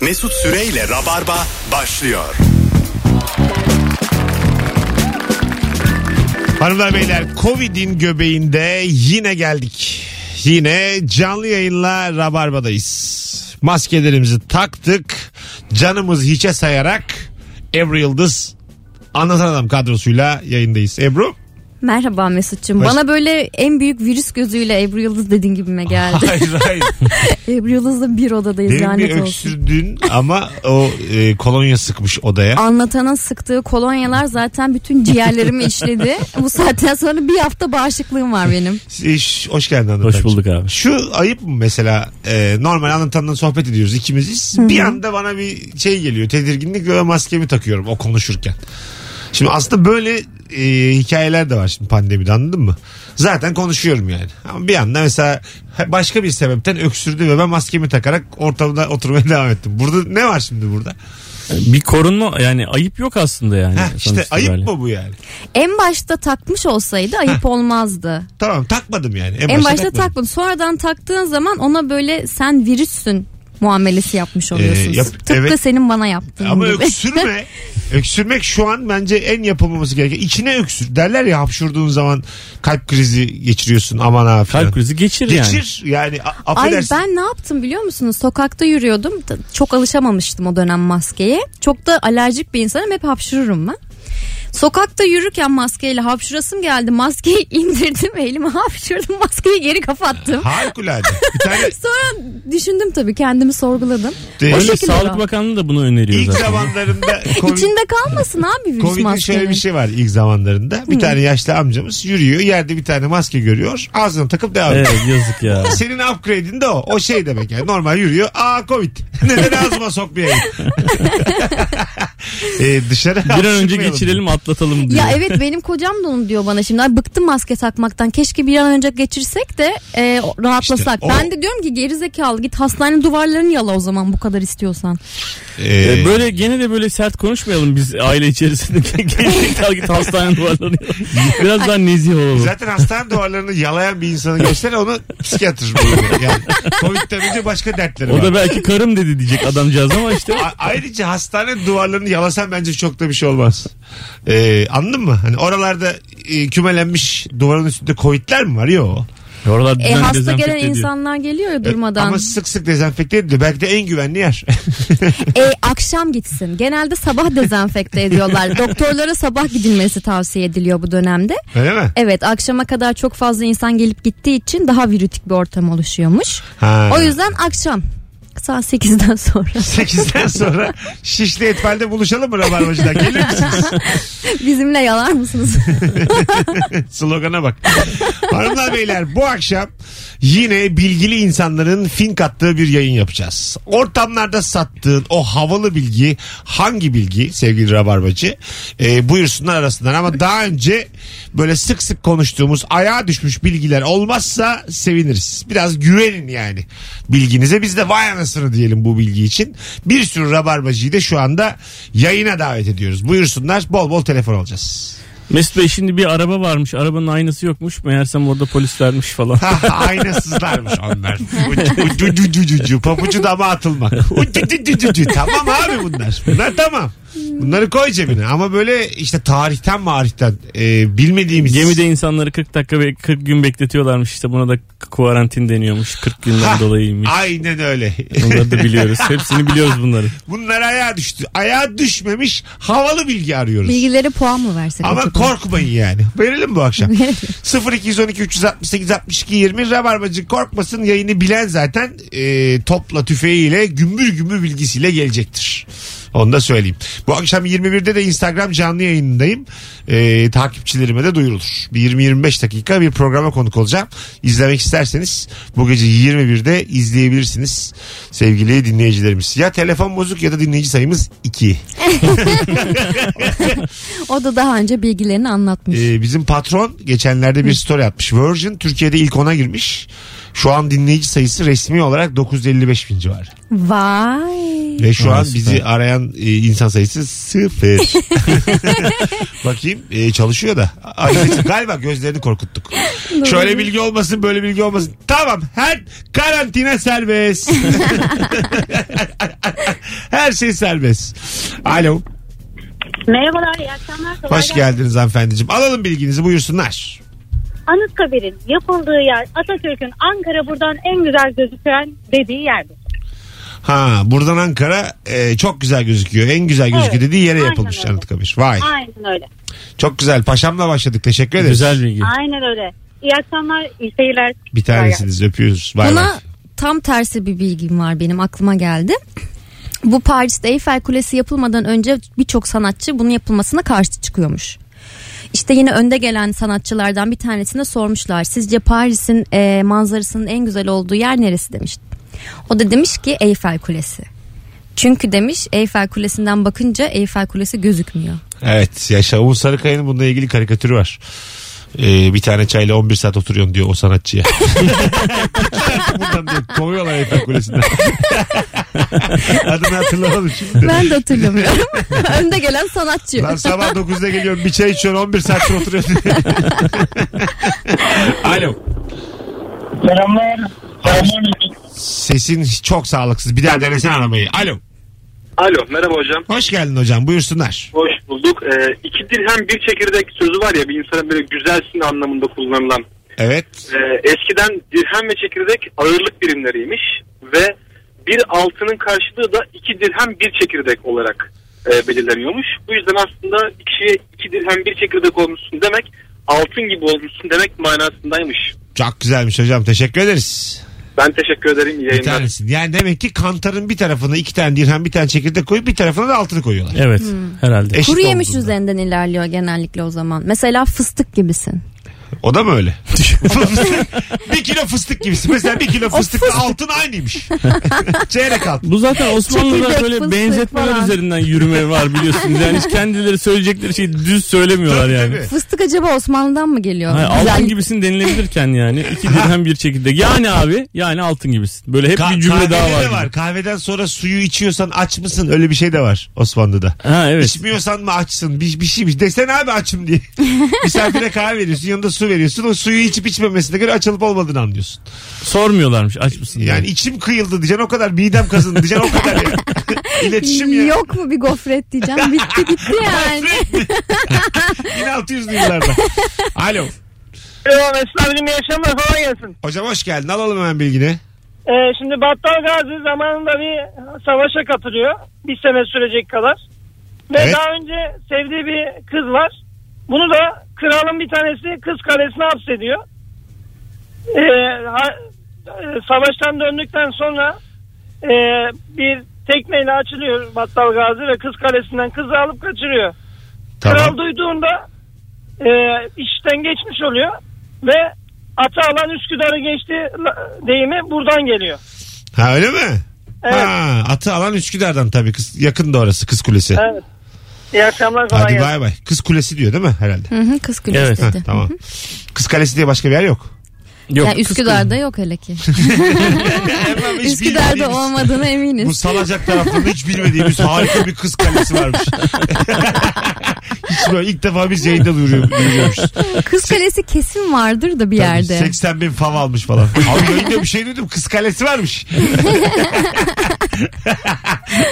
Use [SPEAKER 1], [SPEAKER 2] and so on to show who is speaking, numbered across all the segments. [SPEAKER 1] Mesut Süreyle Rabarba başlıyor.
[SPEAKER 2] Hanımlar beyler Covid'in göbeğinde yine geldik. Yine canlı yayınla Rabarba'dayız. Maskelerimizi taktık. Canımız hiçe sayarak Ebru Yıldız Anlatan Adam kadrosuyla yayındayız. Ebru?
[SPEAKER 3] Merhaba Mesut'cum.
[SPEAKER 2] Hoş-
[SPEAKER 3] Bana böyle en büyük virüs gözüyle Ebru Yıldız dediğin gibime geldi.
[SPEAKER 2] Hayır hayır.
[SPEAKER 3] Ebru Yıldız'la bir odadayız
[SPEAKER 2] Demin bir
[SPEAKER 3] lanet olsun.
[SPEAKER 2] öksürdün ama o e, kolonya sıkmış odaya.
[SPEAKER 3] Anlatanın sıktığı kolonyalar zaten bütün ciğerlerimi işledi. Bu saatten sonra bir hafta bağışıklığım var benim.
[SPEAKER 2] E, ş- Hoş geldin anlatan.
[SPEAKER 4] Hoş bulduk abi.
[SPEAKER 2] Şu ayıp mı mesela e, normal anlatandan sohbet ediyoruz ikimiziz. Bir anda bana bir şey geliyor tedirginlik ve maskemi takıyorum o konuşurken. Şimdi aslında böyle e, hikayeler de var şimdi pandemide anladın mı? Zaten konuşuyorum yani. Ama bir anda mesela başka bir sebepten öksürdü ve ben maskemi takarak ortamda oturmaya devam ettim. Burada ne var şimdi burada?
[SPEAKER 4] Bir korunma yani ayıp yok aslında yani.
[SPEAKER 2] Heh, işte
[SPEAKER 4] sonuçta
[SPEAKER 2] ayıp
[SPEAKER 4] böyle.
[SPEAKER 2] mı bu yani?
[SPEAKER 3] En başta takmış olsaydı ayıp olmazdı.
[SPEAKER 2] Tamam takmadım yani. En,
[SPEAKER 3] En başta
[SPEAKER 2] takmadım.
[SPEAKER 3] takmadın. Sonradan taktığın zaman ona böyle sen virüssün muamelesi yapmış oluyorsun.
[SPEAKER 2] Ee, yap-
[SPEAKER 3] Tıpkı
[SPEAKER 2] evet.
[SPEAKER 3] senin bana yaptığın
[SPEAKER 2] Ama
[SPEAKER 3] gibi.
[SPEAKER 2] öksürme. Öksürmek şu an bence en yapılmaması gereken. İçine öksür. Derler ya hapşurduğun zaman kalp krizi geçiriyorsun aman ha filan.
[SPEAKER 4] Kalp krizi geçir, yani.
[SPEAKER 2] Geçir yani. A-
[SPEAKER 3] Ay
[SPEAKER 2] affedersin.
[SPEAKER 3] ben ne yaptım biliyor musunuz? Sokakta yürüyordum. T- Çok alışamamıştım o dönem maskeye. Çok da alerjik bir insanım. Hep hapşırırım ben. Sokakta yürürken maskeyle hapşırasım geldi. Maskeyi indirdim elime hapşırdım. Maskeyi geri kapattım.
[SPEAKER 2] Harikulade. Bir tane
[SPEAKER 3] Sonra düşündüm tabii kendimi sorguladım.
[SPEAKER 2] e,
[SPEAKER 3] O
[SPEAKER 4] Öyle
[SPEAKER 3] şekilde
[SPEAKER 4] Sağlık
[SPEAKER 3] ya.
[SPEAKER 4] Bakanlığı da bunu öneriyor
[SPEAKER 2] ilk
[SPEAKER 4] zaten.
[SPEAKER 2] zamanlarında COVID,
[SPEAKER 3] İçinde kalmasın abi virüs
[SPEAKER 2] Covid'in şöyle bir
[SPEAKER 3] maskenin.
[SPEAKER 2] şey var ilk zamanlarında. Bir tane yaşlı amcamız yürüyor. Yerde bir tane maske görüyor. Ağzına takıp devam ediyor.
[SPEAKER 4] Evet yazık ya.
[SPEAKER 2] Senin upgrade'in de o. O şey demek yani. Normal yürüyor. Aa Covid. Neden ağzıma sokmayayım? e, dışarı
[SPEAKER 4] Bir an önce
[SPEAKER 2] hapşırmayalım.
[SPEAKER 4] geçirelim atlatalım diyor.
[SPEAKER 3] Ya evet benim kocam da onu diyor bana şimdi. Ay bıktım maske takmaktan. Keşke bir an önce geçirsek de e, rahatlasak.
[SPEAKER 2] İşte o-
[SPEAKER 3] Ben de diyorum ki geri zekalı git hastane duvarlarını yala o zaman bu kadar istiyorsan.
[SPEAKER 2] E,
[SPEAKER 4] Ee, böyle gene de böyle sert konuşmayalım biz aile içerisinde. Gelecek git hastane duvarlarını. Biraz daha nezih olalım.
[SPEAKER 2] Zaten hastane duvarlarını yalayan bir insanı göster onu psikiyatr buluyor. Yani Covid'den önce başka dertleri
[SPEAKER 4] O
[SPEAKER 2] var.
[SPEAKER 4] da belki karım dedi diyecek adamcağız ama işte
[SPEAKER 2] A- ayrıca hastane duvarlarını yalasan bence çok da bir şey olmaz. Ee, anladın mı? Hani oralarda e, kümelenmiş duvarın üstünde Covid'ler mi var? Yok.
[SPEAKER 4] oralar
[SPEAKER 3] E,
[SPEAKER 4] düzenli
[SPEAKER 3] hasta
[SPEAKER 4] dezenfekte
[SPEAKER 3] gelen
[SPEAKER 4] ediyor.
[SPEAKER 3] insanlar geliyor ya durmadan.
[SPEAKER 2] E, Ama sık sık dezenfekte ediliyor. Belki de en güvenli yer.
[SPEAKER 3] E, akşam gitsin. Genelde sabah dezenfekte ediyorlar. Doktorlara sabah gidilmesi tavsiye ediliyor bu dönemde.
[SPEAKER 2] Öyle mi?
[SPEAKER 3] Evet akşama kadar çok fazla insan gelip gittiği için daha virütik bir ortam oluşuyormuş.
[SPEAKER 2] Ha.
[SPEAKER 3] O yüzden akşam saat 8'den sonra
[SPEAKER 2] 8'den sonra Şişli Etfel'de buluşalım mı Rabarbacı'da? Gelir misiniz?
[SPEAKER 3] bizimle yalar mısınız?
[SPEAKER 2] Slogana bak. Hanımlar beyler bu akşam yine bilgili insanların fink attığı bir yayın yapacağız. Ortamlarda sattığın o havalı bilgi hangi bilgi sevgili Rabarbacı? Ee, buyursunlar arasından ama daha önce böyle sık sık konuştuğumuz ayağa düşmüş bilgiler olmazsa seviniriz. Biraz güvenin yani bilginize. Biz de vay anasını diyelim bu bilgi için. Bir sürü Rabarbacı'yı da şu anda yayına davet ediyoruz. Buyursunlar bol bol telefon alacağız.
[SPEAKER 4] Mesut Bey şimdi bir araba varmış. Arabanın aynası yokmuş. Meğersem orada polislermiş falan.
[SPEAKER 2] Ha, Aynasızlarmış onlar. Ucu, ucu, ucu, ucu, ucu. Pabucu dama atılmak. Ucu, ucu, ucu, ucu. Tamam abi bunlar. Bunlar tamam. Bunları koy cebine. Ama böyle işte tarihten marihten e, bilmediğimiz.
[SPEAKER 4] Gemide insanları 40 dakika ve 40 gün bekletiyorlarmış. İşte buna da kuarantin deniyormuş. 40 günden
[SPEAKER 2] Ha,
[SPEAKER 4] dolayıymış.
[SPEAKER 2] Aynen öyle.
[SPEAKER 4] Bunları da biliyoruz. Hepsini biliyoruz bunları.
[SPEAKER 2] Bunlar ayağa düştü. Ayağa düşmemiş havalı bilgi arıyoruz.
[SPEAKER 3] Bilgilere puan mı versek?
[SPEAKER 2] Ama
[SPEAKER 3] acaba?
[SPEAKER 2] korkmayın yani. Verelim bu akşam. 0212 368 62 20 Rabarbacı korkmasın yayını bilen zaten e, topla tüfeğiyle gümbür gümbür bilgisiyle gelecektir. Onu da söyleyeyim. Bu akşam 21'de de Instagram canlı yayınındayım. E, takipçilerime de duyurulur. Bir 20-25 dakika bir programa konuk olacağım. İzlemek isterseniz bu gece 21'de izleyebilirsiniz sevgili dinleyicilerimiz. Ya telefon bozuk ya da dinleyici sayımız 2.
[SPEAKER 3] O da daha önce bilgilerini anlatmış.
[SPEAKER 2] Ee, bizim patron geçenlerde bir story atmış. Virgin Türkiye'de ilk ona girmiş. Şu an dinleyici sayısı resmi olarak 955 bin civarı.
[SPEAKER 3] Vay.
[SPEAKER 2] Ve şu an
[SPEAKER 4] Vay
[SPEAKER 2] bizi arayan e, insan sayısı sıfır. Bakayım e, çalışıyor da. Ay, galiba gözlerini korkuttuk. Şöyle bilgi olmasın böyle bilgi olmasın. Tamam her karantina serbest. Her şey serbest. Alo.
[SPEAKER 5] Merhabalar, iyi akşamlar. kolay
[SPEAKER 2] Hoş
[SPEAKER 5] gelsin.
[SPEAKER 2] geldiniz hanımefendiciğim. Alalım bilginizi buyursunlar.
[SPEAKER 5] Anıtkabir'in yapıldığı yer Atatürk'ün Ankara buradan en güzel gözüken dediği yerdir.
[SPEAKER 2] Ha buradan Ankara e, çok güzel gözüküyor. En güzel gözüküyor
[SPEAKER 5] Evet.
[SPEAKER 2] dediği yere
[SPEAKER 5] Aynen
[SPEAKER 2] yapılmış
[SPEAKER 5] öyle.
[SPEAKER 2] Anıtkabir. Vay.
[SPEAKER 5] Aynen öyle.
[SPEAKER 2] Çok güzel. Paşamla başladık. Teşekkür ederiz.
[SPEAKER 4] Güzel bilgi.
[SPEAKER 5] Aynen öyle. İyi akşamlar, iyi seyirler.
[SPEAKER 2] Bir tanesiniz öpüyoruz. Vay vay.
[SPEAKER 3] Buna tam tersi bir bilgim var benim aklıma geldi. Bu Paris'te Eiffel Kulesi yapılmadan önce birçok sanatçı bunun yapılmasına karşı çıkıyormuş. İşte yine önde gelen sanatçılardan bir tanesine sormuşlar. Sizce Paris'in e, manzarasının en güzel olduğu yer neresi demiş. O da demiş ki Eiffel Kulesi. Çünkü demiş Eiffel Kulesi'nden bakınca Eiffel Kulesi gözükmüyor.
[SPEAKER 2] Evet yaşa. Umut Sarıkaya'nın bununla ilgili karikatürü var. Ee, bir tane çayla 11 saat oturuyorsun diyor o sanatçıya. Buradan diyor kovuyorlar Eiffel Kulesi'nden. Adını hatırlamadım şimdi.
[SPEAKER 3] Ben de hatırlamıyorum. önde gelen sanatçı.
[SPEAKER 2] Lan sabah 9'da geliyorum bir çay içiyorsun 11 saattir oturuyorsun. Alo.
[SPEAKER 6] Selamlar. Selamünaleyküm.
[SPEAKER 2] Sesin çok sağlıksız. Bir daha denesene aramayı. Alo.
[SPEAKER 6] Alo merhaba hocam.
[SPEAKER 2] Hoş geldin hocam. Buyursunlar.
[SPEAKER 6] Hoş bulduk. Ee, iki dirhem bir çekirdek sözü var ya bir insanın böyle güzelsin anlamında kullanılan.
[SPEAKER 2] Evet.
[SPEAKER 6] Ee, eskiden dirhem ve çekirdek ağırlık birimleriymiş ve bir altının karşılığı da iki dirhem bir çekirdek olarak e, belirleniyormuş. Bu yüzden aslında bir kişiye iki dirhem bir çekirdek olmuşsun demek altın gibi olmuşsun demek manasındaymış.
[SPEAKER 2] Çok güzelmiş hocam. Teşekkür ederiz.
[SPEAKER 6] Ben teşekkür ederim. iyi
[SPEAKER 2] Bir
[SPEAKER 6] yayınlar.
[SPEAKER 2] tanesin. Yani demek ki kantarın bir tarafına iki tane dirhem bir tane çekirdek koyup bir tarafına da altını koyuyorlar.
[SPEAKER 4] Evet
[SPEAKER 3] Hmm.
[SPEAKER 4] herhalde.
[SPEAKER 2] Eşit
[SPEAKER 3] Kuru yemiş
[SPEAKER 2] olduğunda.
[SPEAKER 3] üzerinden ilerliyor genellikle o zaman. Mesela fıstık gibisin.
[SPEAKER 2] O da mı öyle? bir kilo fıstık gibisin. Mesela bir kilo fıstıkla altın aynıymış. Çeyrek altın.
[SPEAKER 4] Bu zaten Osmanlı'da
[SPEAKER 3] Çekirdek,
[SPEAKER 4] böyle
[SPEAKER 3] fıstık
[SPEAKER 4] benzetmeler
[SPEAKER 3] falan.
[SPEAKER 4] üzerinden yürüme var biliyorsunuz. Yani hiç kendileri söyleyecekleri şeyi düz söylemiyorlar yani.
[SPEAKER 2] tabii.
[SPEAKER 3] Fıstık acaba Osmanlı'dan mı geliyor?
[SPEAKER 4] Hayır,
[SPEAKER 3] Güzel.
[SPEAKER 4] altın gibisin denilebilirken yani. iki dirhem bir çekirdek. Yani abi yani altın gibisin. Böyle hep
[SPEAKER 2] Ka-
[SPEAKER 4] bir cümle
[SPEAKER 2] kahvede
[SPEAKER 4] daha var.
[SPEAKER 2] de
[SPEAKER 4] gibi.
[SPEAKER 2] var. Kahveden sonra suyu içiyorsan aç mısın? Öyle bir şey de var Osmanlı'da.
[SPEAKER 4] Ha evet.
[SPEAKER 2] İçmiyorsan mı açsın? Bir, şey, bir şeymiş. Desene abi açım diye. Misafire kahve veriyorsun. Yanında su veriyorsun. O suyu içip içmemesine göre açılıp olmadığını anlıyorsun.
[SPEAKER 4] Sormuyorlarmış aç mısın? diye.
[SPEAKER 2] Yani içim kıyıldı diyeceksin o kadar. Midem kazındı diyeceksin o kadar. Yani. İletişim ya.
[SPEAKER 3] Yok mu bir gofret diyeceğim. Bitti gitti yani.
[SPEAKER 2] 1600'lü yıllarda. Alo.
[SPEAKER 7] Merhaba Mesut abicim iyi akşamlar kolay gelsin.
[SPEAKER 2] Hocam hoş geldin. Alalım hemen bilgini.
[SPEAKER 7] Ee, şimdi Battal Gazi zamanında bir savaşa katılıyor. Bir sene sürecek kadar. Ve
[SPEAKER 2] Evet.
[SPEAKER 7] daha önce sevdiği bir kız var. Bunu da kralın bir tanesi kız kalesine hapsediyor. Ee, ha- e, savaştan döndükten sonra e, bir tekneyle açılıyor Battal Gazi ve kız kalesinden kızı alıp kaçırıyor. Kral
[SPEAKER 2] Tamam.
[SPEAKER 7] duyduğunda e, işten geçmiş oluyor ve ata alan Üsküdar'ı geçti la- deyimi buradan geliyor.
[SPEAKER 2] Ha öyle mi?
[SPEAKER 7] Evet.
[SPEAKER 2] Ha, atı alan Üsküdar'dan tabii. Kız, yakın da orası Kız Kulesi.
[SPEAKER 7] Evet. İyi akşamlar kolay
[SPEAKER 2] Hadi
[SPEAKER 7] gelsin.
[SPEAKER 2] bay bay. Kız Kulesi diyor değil mi herhalde?
[SPEAKER 3] Hı hı, kız kulesi
[SPEAKER 4] Evet,
[SPEAKER 2] Ha,
[SPEAKER 3] dedi.
[SPEAKER 2] tamam. Kız Kalesi diye başka bir yer yok.
[SPEAKER 4] Yok,
[SPEAKER 3] Yani Üsküdar'da yok hele ki.
[SPEAKER 2] Efendim, hiç
[SPEAKER 3] Üsküdar'da
[SPEAKER 2] bilmediğimiz-
[SPEAKER 3] olmadığına
[SPEAKER 2] Bu
[SPEAKER 3] eminiz.
[SPEAKER 2] salacak tarafında hiç bilmediğimiz harika bir kız kalesi varmış. hiç böyle ilk defa bir yayında duyuruyor, duyuruyormuş.
[SPEAKER 3] Kız kalesi kesin vardır da bir yerde.
[SPEAKER 2] 80 bin fav almış falan. Abi yayında bir şey duydum kız kalesi varmış.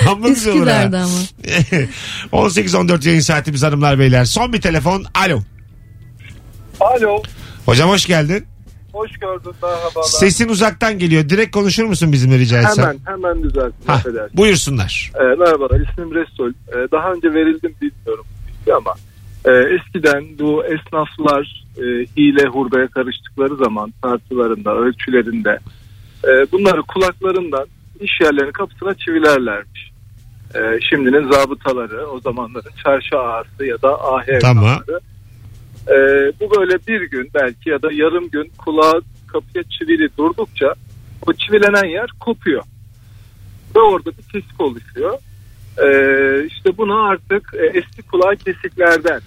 [SPEAKER 2] Amma güzel olur ha.
[SPEAKER 3] Üsküdar'da ama.
[SPEAKER 2] 18-14 yayın saatimiz hanımlar beyler. Son bir telefon. Alo.
[SPEAKER 6] Alo.
[SPEAKER 2] Hocam hoş geldin.
[SPEAKER 6] Hoş gördüm. Merhabalar.
[SPEAKER 2] Sesin uzaktan geliyor. Direkt konuşur musun bizimle rica etsem?
[SPEAKER 6] Hemen hemen düzeltin.
[SPEAKER 2] Hah,
[SPEAKER 6] affedersin.
[SPEAKER 2] buyursunlar.
[SPEAKER 6] E, merhabalar ismim Resul. E, daha önce verildim bilmiyorum bilgi ama e, eskiden bu esnaflar e, hile hurbaya karıştıkları zaman tartılarında, ölçülerinde e, bunları kulaklarından iş yerlerinin kapısına çivilerlermiş. E, şimdinin zabıtaları, o zamanların çarşı ağası ya da ahenk
[SPEAKER 2] Tamam.
[SPEAKER 6] ağası. E, bu böyle bir gün belki ya da yarım gün kulağa kapıya çivili durdukça o çivilenen yer kopuyor ve orada bir kesik oluşuyor. Ee, işte buna artık e, eski kulağı kesiklerden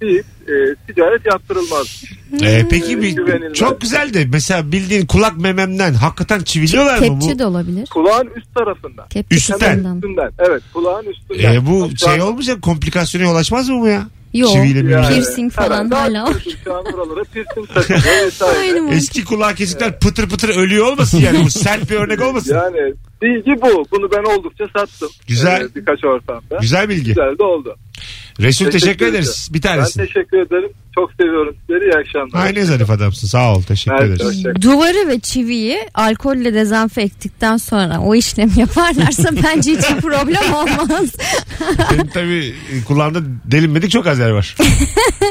[SPEAKER 6] deyip e, ticaret yaptırılmaz.
[SPEAKER 2] Ee, peki bir,
[SPEAKER 6] Güvenilmez.
[SPEAKER 2] çok güzel de mesela bildiğin kulak mememden hakikaten çiviliyorlar mı bu?
[SPEAKER 3] Kepçe de olabilir.
[SPEAKER 6] Kulağın üst tarafından.
[SPEAKER 3] Kepçe
[SPEAKER 2] Üstten.
[SPEAKER 3] tarafından.
[SPEAKER 6] Üstünden. Evet kulağın üstünden.
[SPEAKER 2] Ee, bu
[SPEAKER 6] Hatta-
[SPEAKER 2] şey olmayacak komplikasyona yol açmaz mı bu ya?
[SPEAKER 3] Yok.
[SPEAKER 2] Çiviyle bir-
[SPEAKER 3] piercing falan
[SPEAKER 6] herhalde
[SPEAKER 3] hala
[SPEAKER 6] artık Şu an buralara piercing takılıyor vesaire.
[SPEAKER 3] Aynı mı?
[SPEAKER 2] Eski kulağı kesikler pıtır pıtır ölüyor olmasın yani bu sert bir örnek olmasın.
[SPEAKER 6] Yani Bilgi bu. Bunu ben oldukça sattım.
[SPEAKER 2] Güzel.
[SPEAKER 6] Ee, birkaç ortamda.
[SPEAKER 2] Güzel bilgi.
[SPEAKER 6] Güzel de oldu.
[SPEAKER 2] Resul teşekkür,
[SPEAKER 6] Teşekkür
[SPEAKER 2] ederiz. Bir
[SPEAKER 6] Ben
[SPEAKER 2] tanesin.
[SPEAKER 6] teşekkür ederim. Çok seviyorum sizleri. İyi akşamlar.
[SPEAKER 2] Ay ne zarif adamsın. Sağ ol. Teşekkür
[SPEAKER 6] Evet,
[SPEAKER 2] ederiz.
[SPEAKER 6] hoşça kalın.
[SPEAKER 3] Duvarı ve çiviyi alkolle dezenfe ettikten sonra o işlemi yaparlarsa bence hiç problem olmaz.
[SPEAKER 2] Benim tabii kulağımda delinmedik çok az yer var.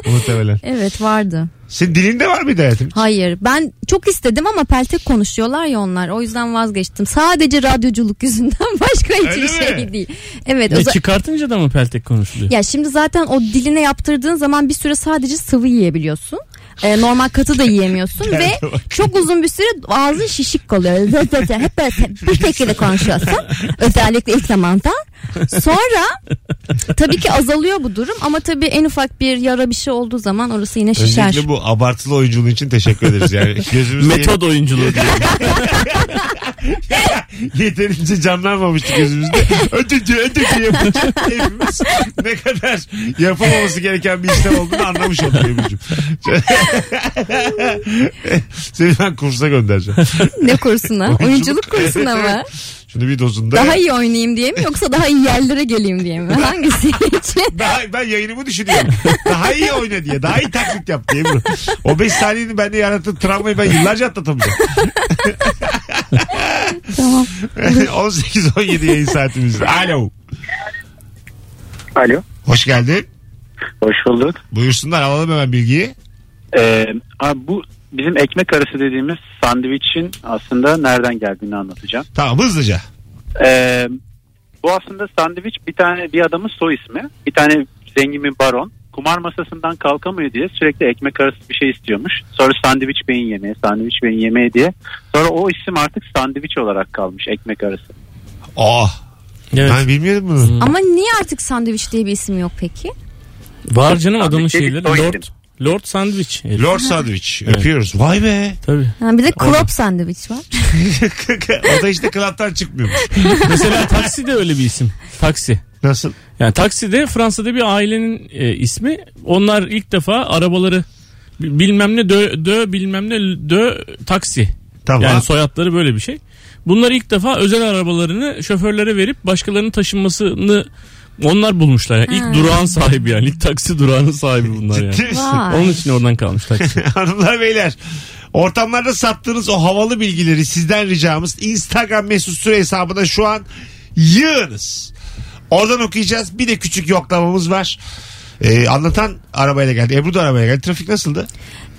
[SPEAKER 2] Muhtemelen.
[SPEAKER 3] Evet vardı.
[SPEAKER 2] Senin dilinde var mıydı hayatım?
[SPEAKER 3] Hayır ben çok istedim ama peltek konuşuyorlar ya onlar o yüzden vazgeçtim. Sadece radyoculuk yüzünden başka hiçbir
[SPEAKER 2] Öyle
[SPEAKER 3] şey
[SPEAKER 2] mi?
[SPEAKER 3] değil. Evet.
[SPEAKER 4] E,
[SPEAKER 3] özel-
[SPEAKER 4] çıkartınca da mı peltek konuşuluyor?
[SPEAKER 3] Ya şimdi zaten o diline yaptırdığın zaman bir süre sadece sıvı yiyebiliyorsun. Ee, normal katı da yiyemiyorsun ve
[SPEAKER 2] Derde bak.
[SPEAKER 3] çok uzun bir süre ağzın şişik kalıyor. Zıt zıt zıt. Hep böyle te- bir şekilde konuşuyorsun. Özellikle ilk zamanda. Sonra tabii ki azalıyor bu durum ama tabii en ufak bir yara bir şey olduğu zaman orası yine şişer.
[SPEAKER 2] Özellikle bu abartılı oyunculuğun için teşekkür ederiz. Yani gözümüzde
[SPEAKER 4] Metod oyunculuğu diyor.
[SPEAKER 2] yeterince canlanmamıştı gözümüzde. Ötücü ötücü yapacak hepimiz. Ne kadar yapamaması gereken bir işlem olduğunu anlamış olduk Ebru'cum. Seni ben kursa göndereceğim.
[SPEAKER 3] Ne kursuna? Oyunculuk, kursuna
[SPEAKER 2] Evet,
[SPEAKER 3] mı?
[SPEAKER 2] evet. Şimdi bir dozunda.
[SPEAKER 3] Daha iyi oynayayım diye mi yoksa daha iyi yerlere geleyim diye mi? Hangisi için?
[SPEAKER 2] Daha- ben yayınımı düşünüyorum. Daha iyi oyna diye. Daha iyi taklit yap diye. Ebru. O 5 saniyenin bende yarattığı travmayı ben yıllarca atlatamayacağım.
[SPEAKER 3] tamam.
[SPEAKER 2] 18-17 yayın saatimiz. Alo.
[SPEAKER 8] Alo.
[SPEAKER 2] Hoş geldin.
[SPEAKER 8] Hoş bulduk.
[SPEAKER 2] Buyursunlar alalım hemen bilgiyi.
[SPEAKER 8] Ee, abi bu bizim ekmek arası dediğimiz sandviçin aslında nereden geldiğini anlatacağım.
[SPEAKER 2] Tamam hızlıca.
[SPEAKER 8] Ee, bu aslında sandviç bir tane bir adamın soy ismi. Bir tane zengin bir baron. Kumar masasından kalkamıyor diye sürekli ekmek arası bir şey istiyormuş. Sonra sandviç beyin yemeği, sandviç beyin yemeği diye. Sonra o isim artık sandviç olarak kalmış ekmek arası.
[SPEAKER 2] Oh.
[SPEAKER 4] Evet.
[SPEAKER 2] Ben bilmiyordum bunu.
[SPEAKER 3] Ama niye artık sandviç diye bir isim yok peki?
[SPEAKER 4] Var canım adamın
[SPEAKER 8] Sandviç
[SPEAKER 4] şeyleri.
[SPEAKER 8] dedik, soy
[SPEAKER 4] Lord,
[SPEAKER 8] isim.
[SPEAKER 4] Lord Sandwich. Evet,
[SPEAKER 2] Lord Sandwich. Öpüyoruz. Vay be.
[SPEAKER 4] Tabii.
[SPEAKER 3] Ha, bir de krop sandviç var.
[SPEAKER 2] o da işte klaptan çıkmıyormuş.
[SPEAKER 4] Mesela taksi de öyle bir isim. Taksi.
[SPEAKER 2] Nasıl?
[SPEAKER 4] Yani takside Fransa'da bir ailenin e, ismi. Onlar ilk defa arabaları bi- bilmem ne dö, dö bilmem ne dö taksi.
[SPEAKER 2] Tamam.
[SPEAKER 4] Yani soyadları böyle bir şey. Bunlar ilk defa özel arabalarını şoförlere verip başkalarının taşınmasını onlar bulmuşlar. Yani. İlk durağın sahibi yani. İlk taksi durağının sahibi bunlar yani.
[SPEAKER 2] Ciddi misin?
[SPEAKER 3] Vay.
[SPEAKER 4] Onun için oradan kalmış taksi.
[SPEAKER 2] Hanımlar beyler ortamlarda sattığınız o havalı bilgileri sizden ricamız Instagram mesut süre hesabına şu an yığınız. Oradan okuyacağız. Bir de küçük yoklamamız var. Ee, anlatan arabayla geldi. Ebru da arabayla geldi. Trafik nasıldı?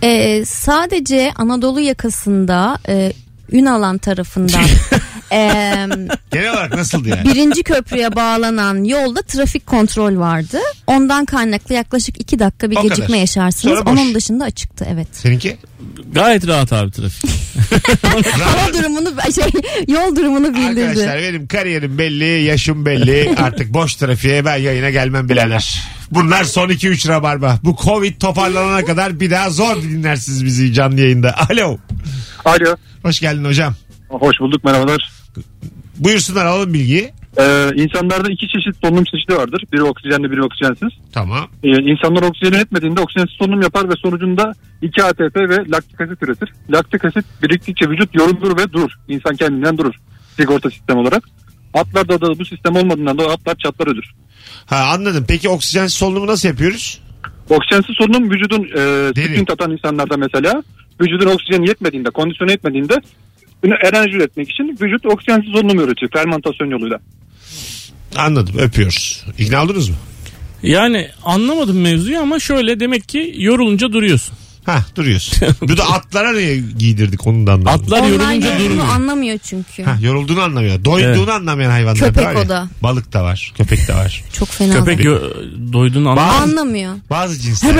[SPEAKER 3] Ee, sadece Anadolu yakasında e, Ünalan tarafından e,
[SPEAKER 2] Genel olarak nasıldı yani?
[SPEAKER 3] birinci köprüye bağlanan yolda trafik kontrol vardı. Ondan kaynaklı yaklaşık iki dakika bir
[SPEAKER 2] O
[SPEAKER 3] gecikme
[SPEAKER 2] kadar.
[SPEAKER 3] yaşarsınız.
[SPEAKER 2] Sonra boş.
[SPEAKER 3] Onun dışında açıktı evet.
[SPEAKER 2] Seninki?
[SPEAKER 4] Gayet rahat abi trafik.
[SPEAKER 3] Hava durumunu şey, yol durumunu bildirdi.
[SPEAKER 2] Arkadaşlar benim kariyerim belli, yaşım belli. Artık boş trafiğe ben yayına gelmem bilenler. Bunlar son 2-3 rabarba. Bu Covid toparlanana kadar bir daha zor dinlersiniz bizi canlı yayında. Alo.
[SPEAKER 8] Alo.
[SPEAKER 2] Hoş geldin hocam.
[SPEAKER 8] Hoş bulduk merhabalar.
[SPEAKER 2] Buyursunlar alalım bilgiyi.
[SPEAKER 8] Ee, insanlarda iki çeşit solunum çeşidi vardır. Biri oksijenli biri oksijensiz.
[SPEAKER 2] Tamam.
[SPEAKER 8] Ee, insanlar oksijeni etmediğinde oksijensiz solunum yapar ve sonucunda 2 ATP ve laktik asit üretir. Laktik asit biriktikçe vücut yorulur ve durur. İnsan kendinden durur sigorta sistemi olarak. Atlarda da bu sistem olmadığından dolayı atlar çatlar ölür.
[SPEAKER 2] Ha anladım. Peki oksijen solunumu nasıl yapıyoruz?
[SPEAKER 8] Oksijensiz solunum vücudun e,
[SPEAKER 2] Derin.
[SPEAKER 8] sprint atan insanlarda mesela vücudun oksijeni yetmediğinde, kondisyonu yetmediğinde bunu enerji üretmek için vücut oksijensiz solunum üretiyor fermentasyon yoluyla.
[SPEAKER 2] Anladım. Öpüyoruz. İkna oldunuz mu?
[SPEAKER 4] Yani anlamadım mevzuyu ama şöyle demek ki yorulunca duruyorsun.
[SPEAKER 2] Ha duruyorsun. Bu da atlara niye giydirdik onun da anlamadım.
[SPEAKER 4] Atlar
[SPEAKER 3] Onlar
[SPEAKER 4] yorulunca
[SPEAKER 3] yorulduğunu
[SPEAKER 4] durmuyor.
[SPEAKER 3] anlamıyor çünkü.
[SPEAKER 2] Ha, yorulduğunu anlamıyor. Doyduğunu
[SPEAKER 4] Evet.
[SPEAKER 2] anlamayan hayvanlar da
[SPEAKER 3] Köpek
[SPEAKER 2] var ya.
[SPEAKER 3] o da.
[SPEAKER 2] Balık da var. Köpek de var.
[SPEAKER 3] Çok fena.
[SPEAKER 4] Köpek yo- doyduğunu anlamıyor.
[SPEAKER 3] Anlamıyor.
[SPEAKER 2] Bazı cinsler.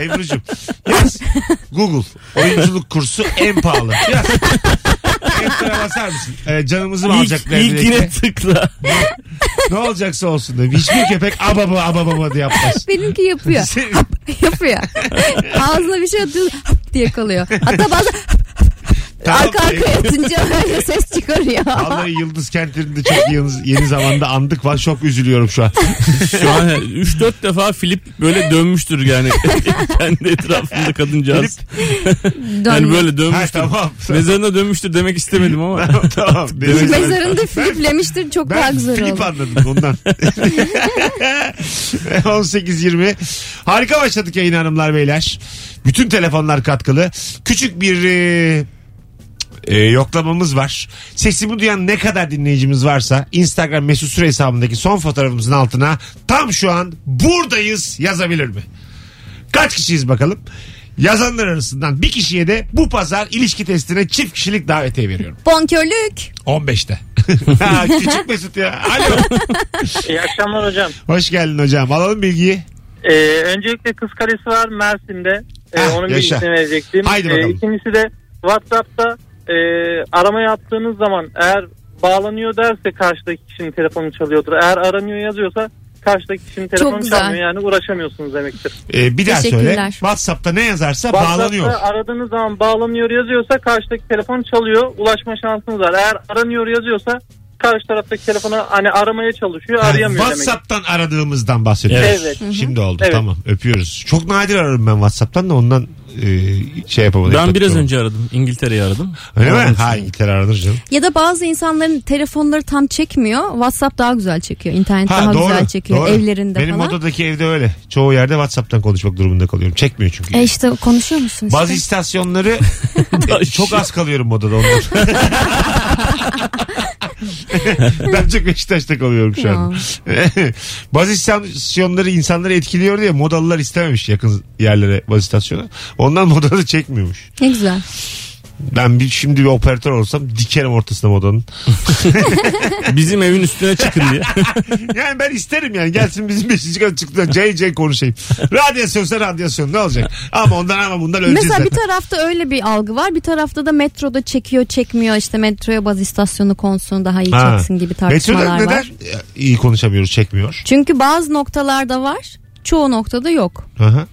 [SPEAKER 2] Ebru'cum yaz. Google oyunculuk kursu en pahalı. Yaz. Enter'a basar mısın? Ee, canımızı mı alacak?
[SPEAKER 4] İlk, ilkine tıkla.
[SPEAKER 2] Ne olacaksa olsun demiş. Hiçbir köpek ababa ababa diye yapmaz.
[SPEAKER 3] Benimki yapıyor.
[SPEAKER 2] Sen-
[SPEAKER 3] yapıyor. Ağzına bir şey atıyor hap diye kalıyor. Hatta bazen
[SPEAKER 2] Tamam.
[SPEAKER 3] Arka arkaya yatınca öyle ses çıkarıyor.
[SPEAKER 2] Vallahi Yıldız Kentlerinde çok yeni, yeni zamanda andık var. Çok üzülüyorum şu an.
[SPEAKER 4] Şu an 3-4 defa Filip böyle dönmüştür yani. Kendi etrafında kadıncağız. Yani böyle
[SPEAKER 2] ha
[SPEAKER 4] dönmüştür.
[SPEAKER 2] tamam.
[SPEAKER 4] Mezarına dönmüştür demek istemedim ama.
[SPEAKER 2] tamam. tamam. Neyse.
[SPEAKER 3] Mezarında filiplemiştir çok daha
[SPEAKER 2] Ben
[SPEAKER 3] güzel
[SPEAKER 2] flip
[SPEAKER 3] oldu.
[SPEAKER 2] anladım ondan. 18-20. Harika başladık yayın hanımlar beyler. Bütün telefonlar katkılı. Küçük bir e, e, yoklamamız var. Sesimi duyan ne kadar dinleyicimiz varsa Instagram mesut süre hesabındaki son fotoğrafımızın altına tam şu an buradayız yazabilir mi? Kaç kişiyiz bakalım? Yazanlar arasından bir kişiye de bu pazar ilişki testine çift kişilik davetiye veriyorum.
[SPEAKER 3] Bonkörlük.
[SPEAKER 2] 15'te. Ha, Küçük Mesut ya. Alo.
[SPEAKER 9] İyi akşamlar hocam.
[SPEAKER 2] Hoş geldin hocam. Alalım bilgiyi.
[SPEAKER 9] Ee, öncelikle Kız Kalesi var Mersin'de. Ee,
[SPEAKER 2] Hah,
[SPEAKER 9] onun
[SPEAKER 2] Ah, yaşa.
[SPEAKER 9] bilgisini verecektim. E,
[SPEAKER 2] Haydi bakalım.
[SPEAKER 9] ikincisi de WhatsApp'ta e, arama yaptığınız zaman eğer bağlanıyor derse karşıdaki kişinin telefonu çalıyordur. Eğer aranıyor yazıyorsa karşıdaki kişinin telefonu
[SPEAKER 3] güzel.
[SPEAKER 9] çalmıyor yani uğraşamıyorsunuz demektir.
[SPEAKER 2] Ee, bir daha
[SPEAKER 3] Teşekkürler.
[SPEAKER 2] söyle. WhatsApp'ta ne yazarsa bağlanıyor.
[SPEAKER 9] WhatsApp'ta aradığınız zaman bağlanıyor yazıyorsa karşıdaki telefon çalıyor ulaşma şansınız var. Eğer aranıyor yazıyorsa karşı taraftaki telefonu hani aramaya çalışıyor
[SPEAKER 2] Ha,
[SPEAKER 9] arayamıyor demek.
[SPEAKER 2] WhatsApp'tan aradığımızdan bahsediyoruz.
[SPEAKER 9] Evet.
[SPEAKER 2] Şimdi oldu
[SPEAKER 9] Evet.
[SPEAKER 2] tamam öpüyoruz. Çok nadir ararım ben WhatsApp'tan da ondan e, şey yapamadım.
[SPEAKER 4] Ben biraz
[SPEAKER 2] yapamadım.
[SPEAKER 4] önce aradım. İngiltere'yi aradım.
[SPEAKER 2] Öyle mi?
[SPEAKER 4] Oradan
[SPEAKER 2] Ha İngiltere aranır canım.
[SPEAKER 3] Ya da bazı insanların telefonları tam çekmiyor. WhatsApp daha güzel çekiyor. İnternet
[SPEAKER 2] Ha,
[SPEAKER 3] daha
[SPEAKER 2] doğru,
[SPEAKER 3] güzel çekiyor
[SPEAKER 2] doğru.
[SPEAKER 3] evlerinde
[SPEAKER 2] Benim
[SPEAKER 3] falan.
[SPEAKER 2] odadaki evde öyle. Çoğu yerde WhatsApp'tan konuşmak durumunda kalıyorum. Çekmiyor çünkü.
[SPEAKER 3] E işte konuşuyor musun işte?
[SPEAKER 2] Bazı istasyonları e, çok az kalıyorum odada ondan. ben çok Beşiktaş'ta kalıyorum şu an. bazı istasyonları insanları etkiliyor diye modalılar istememiş yakın yerlere bazı istasyona. Ondan modalı çekmiyormuş.
[SPEAKER 3] Ne güzel.
[SPEAKER 2] Ben bir, şimdi bir operatör olsam dikerim ortasına modanın.
[SPEAKER 4] Bizim evin üstüne çıkın diye.
[SPEAKER 2] Yani ben isterim yani gelsin bizim 5. kat çıktığında JJ konuşayım. Radyasyonsa radyasyon ne olacak? Ama ondan ama bundan öleceğiz
[SPEAKER 3] Mesela bir
[SPEAKER 2] zaten.
[SPEAKER 3] tarafta öyle bir algı var. Bir tarafta da metroda çekiyor çekmiyor. İşte metroya bazı istasyonu konsun daha iyi
[SPEAKER 2] Ha.
[SPEAKER 3] çeksin gibi
[SPEAKER 2] Metroda
[SPEAKER 3] tartışmalar
[SPEAKER 2] neden
[SPEAKER 3] var.
[SPEAKER 2] iyi konuşamıyoruz çekmiyor?
[SPEAKER 3] Çünkü bazı noktalarda var. Çoğu noktada yok.
[SPEAKER 2] Hı hı.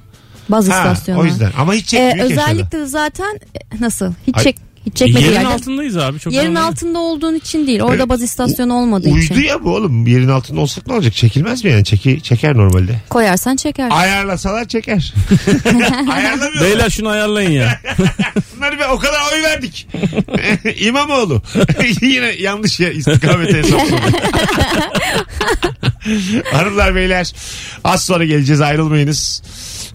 [SPEAKER 3] Bazı
[SPEAKER 2] Ha,
[SPEAKER 3] istasyonlar.
[SPEAKER 2] o yüzden ama hiç
[SPEAKER 3] Ee,
[SPEAKER 2] çekmiyor ki aşağıda.
[SPEAKER 3] özellikle de zaten e, nasıl? Hiç
[SPEAKER 2] Ay-
[SPEAKER 3] çek hiç çekmediği
[SPEAKER 4] Yerin
[SPEAKER 3] yerden-
[SPEAKER 4] altındayız abi. Çok
[SPEAKER 3] Yerin
[SPEAKER 4] önemli.
[SPEAKER 3] altında olduğun için değil.
[SPEAKER 2] Evet.
[SPEAKER 3] Orada bazı istasyonu olmadığı
[SPEAKER 2] Uydu
[SPEAKER 3] için.
[SPEAKER 2] ya bu oğlum yerin altında olsak ne olacak çekilmez mi yani Çeki, çeker normalde.
[SPEAKER 3] Koyarsan çeker.
[SPEAKER 2] Ah. Ayarlasalar çeker. Ayarlamıyorlar.
[SPEAKER 4] Beyler şunu ayarlayın ya.
[SPEAKER 2] Bunları bir o kadar oy verdik. İmamoğlu. Yine yanlış ya istikamete hesapladı. Hanımlar beyler az sonra geleceğiz ayrılmayınız.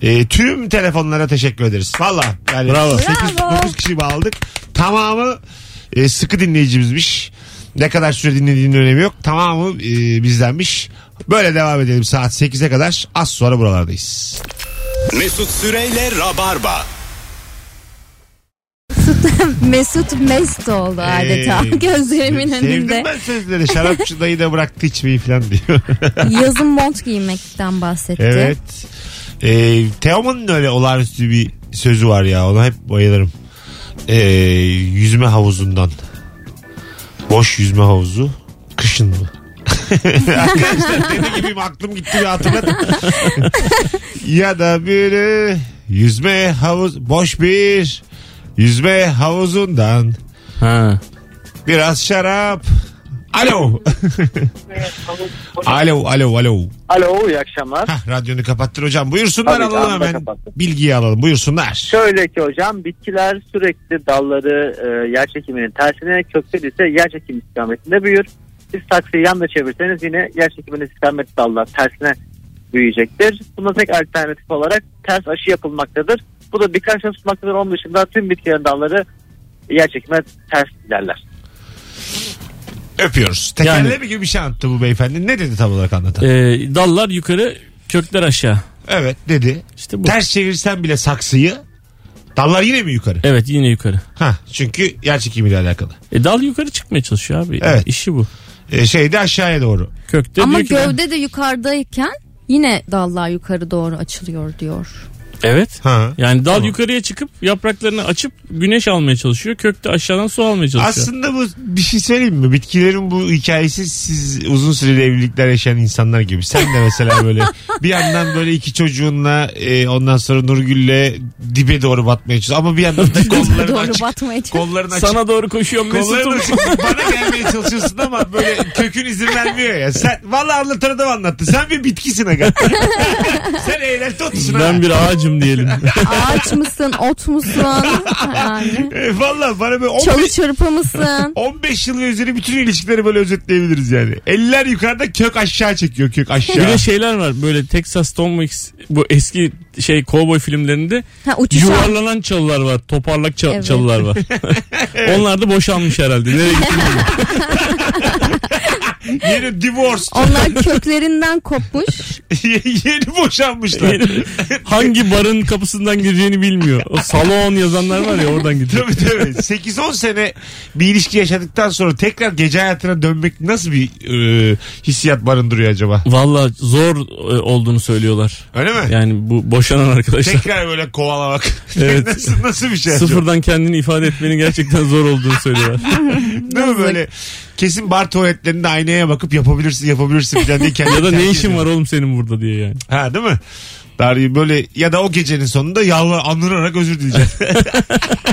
[SPEAKER 2] Ee, tüm telefonlara teşekkür ederiz. Valla yani
[SPEAKER 4] Bravo.
[SPEAKER 2] 8-9 kişi bağladık. Tamamı e, sıkı dinleyicimizmiş. Ne kadar süre dinlediğinin önemi yok. Tamamı e, bizdenmiş. Böyle devam edelim saat 8'e kadar. Az sonra buralardayız.
[SPEAKER 1] Mesut Süreyle Rabarba.
[SPEAKER 3] Mesut mest oldu adeta.
[SPEAKER 2] Ee,
[SPEAKER 3] Gözlerimin
[SPEAKER 2] Sevdim
[SPEAKER 3] önünde.
[SPEAKER 2] ben sözleri. Şarapçı dayı da bıraktı içmeyi falan diyor.
[SPEAKER 3] Yazın mont giymekten bahsetti.
[SPEAKER 2] evet. Ee, Teoman'ın öyle olağanüstü bir sözü var ya. Ona hep bayılırım. Ee, yüzme havuzundan. Boş yüzme havuzu. Kışın mı? Arkadaşlar deli gibiyim aklım gitti bir hatırladım. ya da biri yüzme havuz boş bir yüzme havuzundan
[SPEAKER 4] Ha.
[SPEAKER 2] biraz şarap. Alo. Alo alo alo.
[SPEAKER 9] Alo iyi akşamlar.
[SPEAKER 2] Hah, radyonu kapattın hocam. Buyursunlar
[SPEAKER 9] Tabii,
[SPEAKER 2] alalım
[SPEAKER 9] anda
[SPEAKER 2] hemen.
[SPEAKER 9] kapattım.
[SPEAKER 2] Bilgiyi alalım buyursunlar.
[SPEAKER 9] Şöyle ki hocam bitkiler sürekli dalları e, yer çekiminin tersine kökleri ise yer çekimi istikametinde büyür. Siz taksiyi yan da çevirseniz yine yer çekiminin istikameti dallar tersine büyüyecektir. Buna tek alternatif olarak ters aşı yapılmaktadır. Bu da birkaç yıl tutmaktadır. Onun dışında tüm bitkilerin dalları yer çekime ters ilerler.
[SPEAKER 2] Öpüyoruz. Tekerleme
[SPEAKER 4] Yani-
[SPEAKER 2] gibi bir şey anlattı bu beyefendi. Ne dedi tam olarak anlatan?
[SPEAKER 4] Ee, dallar yukarı, kökler aşağı.
[SPEAKER 2] evet dedi.
[SPEAKER 4] İşte bu.
[SPEAKER 2] Ters çevirsen bile saksıyı dallar yine mi yukarı?
[SPEAKER 4] Evet yine yukarı.
[SPEAKER 2] Ha çünkü yer çekimiyle alakalı.
[SPEAKER 4] E, dal yukarı çıkmaya çalışıyor abi.
[SPEAKER 2] Evet.
[SPEAKER 4] İşi bu.
[SPEAKER 2] Ee, şey de aşağıya doğru.
[SPEAKER 4] Kökte
[SPEAKER 3] Ama
[SPEAKER 4] diyor ki ben-
[SPEAKER 3] gövde de yukarıdayken yine dallar yukarı doğru açılıyor diyor.
[SPEAKER 4] Evet.
[SPEAKER 2] Ha.
[SPEAKER 4] Yani dal yukarıya çıkıp yapraklarını açıp güneş almaya çalışıyor. Kök de aşağıdan su almaya çalışıyor.
[SPEAKER 2] Aslında bu bir şey söyleyeyim mi? Bitkilerin bu hikayesi siz uzun süreli evlilikler yaşayan insanlar gibi. Sen de mesela böyle bir yandan böyle iki çocuğunla e, ondan sonra Nurgül'le dibe doğru batmaya çalışıyorsun. Ama bir yandan da kolların
[SPEAKER 3] Doğru
[SPEAKER 2] açık.
[SPEAKER 3] batmaya çalışıyor.
[SPEAKER 2] Kolların açık.
[SPEAKER 4] Sana doğru koşuyorum
[SPEAKER 2] Kolların
[SPEAKER 4] Mesut'um.
[SPEAKER 2] açık. Bana gelmeye çalışıyorsun ama böyle kökün izin vermiyor ya. Sen valla anlatan adam anlattı. Sen bir bitkisin aga. Sen eğlenti otusun ha.
[SPEAKER 4] Ben bir ağacım diyelim.
[SPEAKER 3] Ağaç mısın, ot musun? Yani.
[SPEAKER 2] E, valla bana böyle 15,
[SPEAKER 3] Çalı çırpı mısın?
[SPEAKER 2] 15 yıl ve üzeri bütün ilişkileri böyle özetleyebiliriz yani. Eller yukarıda kök aşağı çekiyor kök
[SPEAKER 4] Bir
[SPEAKER 2] aşağı.
[SPEAKER 4] de şey- şeyler var böyle Texas Tom Hanks bu eski şey cowboy filmlerinde
[SPEAKER 3] Ha, uçuşan.
[SPEAKER 4] yuvarlanan çalılar var. Toparlak çal-
[SPEAKER 3] Evet.
[SPEAKER 4] çalılar var. Onlar da boşanmış herhalde. Nereye gittiğini bilmiyorum.
[SPEAKER 2] Yeni divorce.
[SPEAKER 3] Onlar köklerinden kopmuş.
[SPEAKER 2] Yeni boşanmışlar.
[SPEAKER 4] Hangi barın kapısından gireceğini bilmiyor. O salon yazanlar var ya oradan gidiyor.
[SPEAKER 2] tabii tabii. 8-10 sene bir ilişki yaşadıktan sonra tekrar gece hayatına dönmek nasıl bir e, hissiyat barındırıyor acaba?
[SPEAKER 4] Valla zor e, olduğunu söylüyorlar.
[SPEAKER 2] Öyle mi?
[SPEAKER 4] Yani bu boşanan arkadaşlar.
[SPEAKER 2] Tekrar böyle kovalamak.
[SPEAKER 4] Evet.
[SPEAKER 2] nasıl, nasıl bir şey? acaba?
[SPEAKER 4] Sıfırdan kendini ifade etmenin gerçekten zor olduğunu söylüyorlar.
[SPEAKER 2] Değil mi böyle? Kesin bar tuvaletlerinde aynaya bakıp yapabilirsin yapabilirsin falan diye kendini
[SPEAKER 4] ya da ne
[SPEAKER 2] tercih
[SPEAKER 4] işin
[SPEAKER 2] ediyor.
[SPEAKER 4] var oğlum senin burada diye yani.
[SPEAKER 2] Ha değil mi? Dari böyle ya da o gecenin sonunda yalvar anırarak özür dileyeceğim.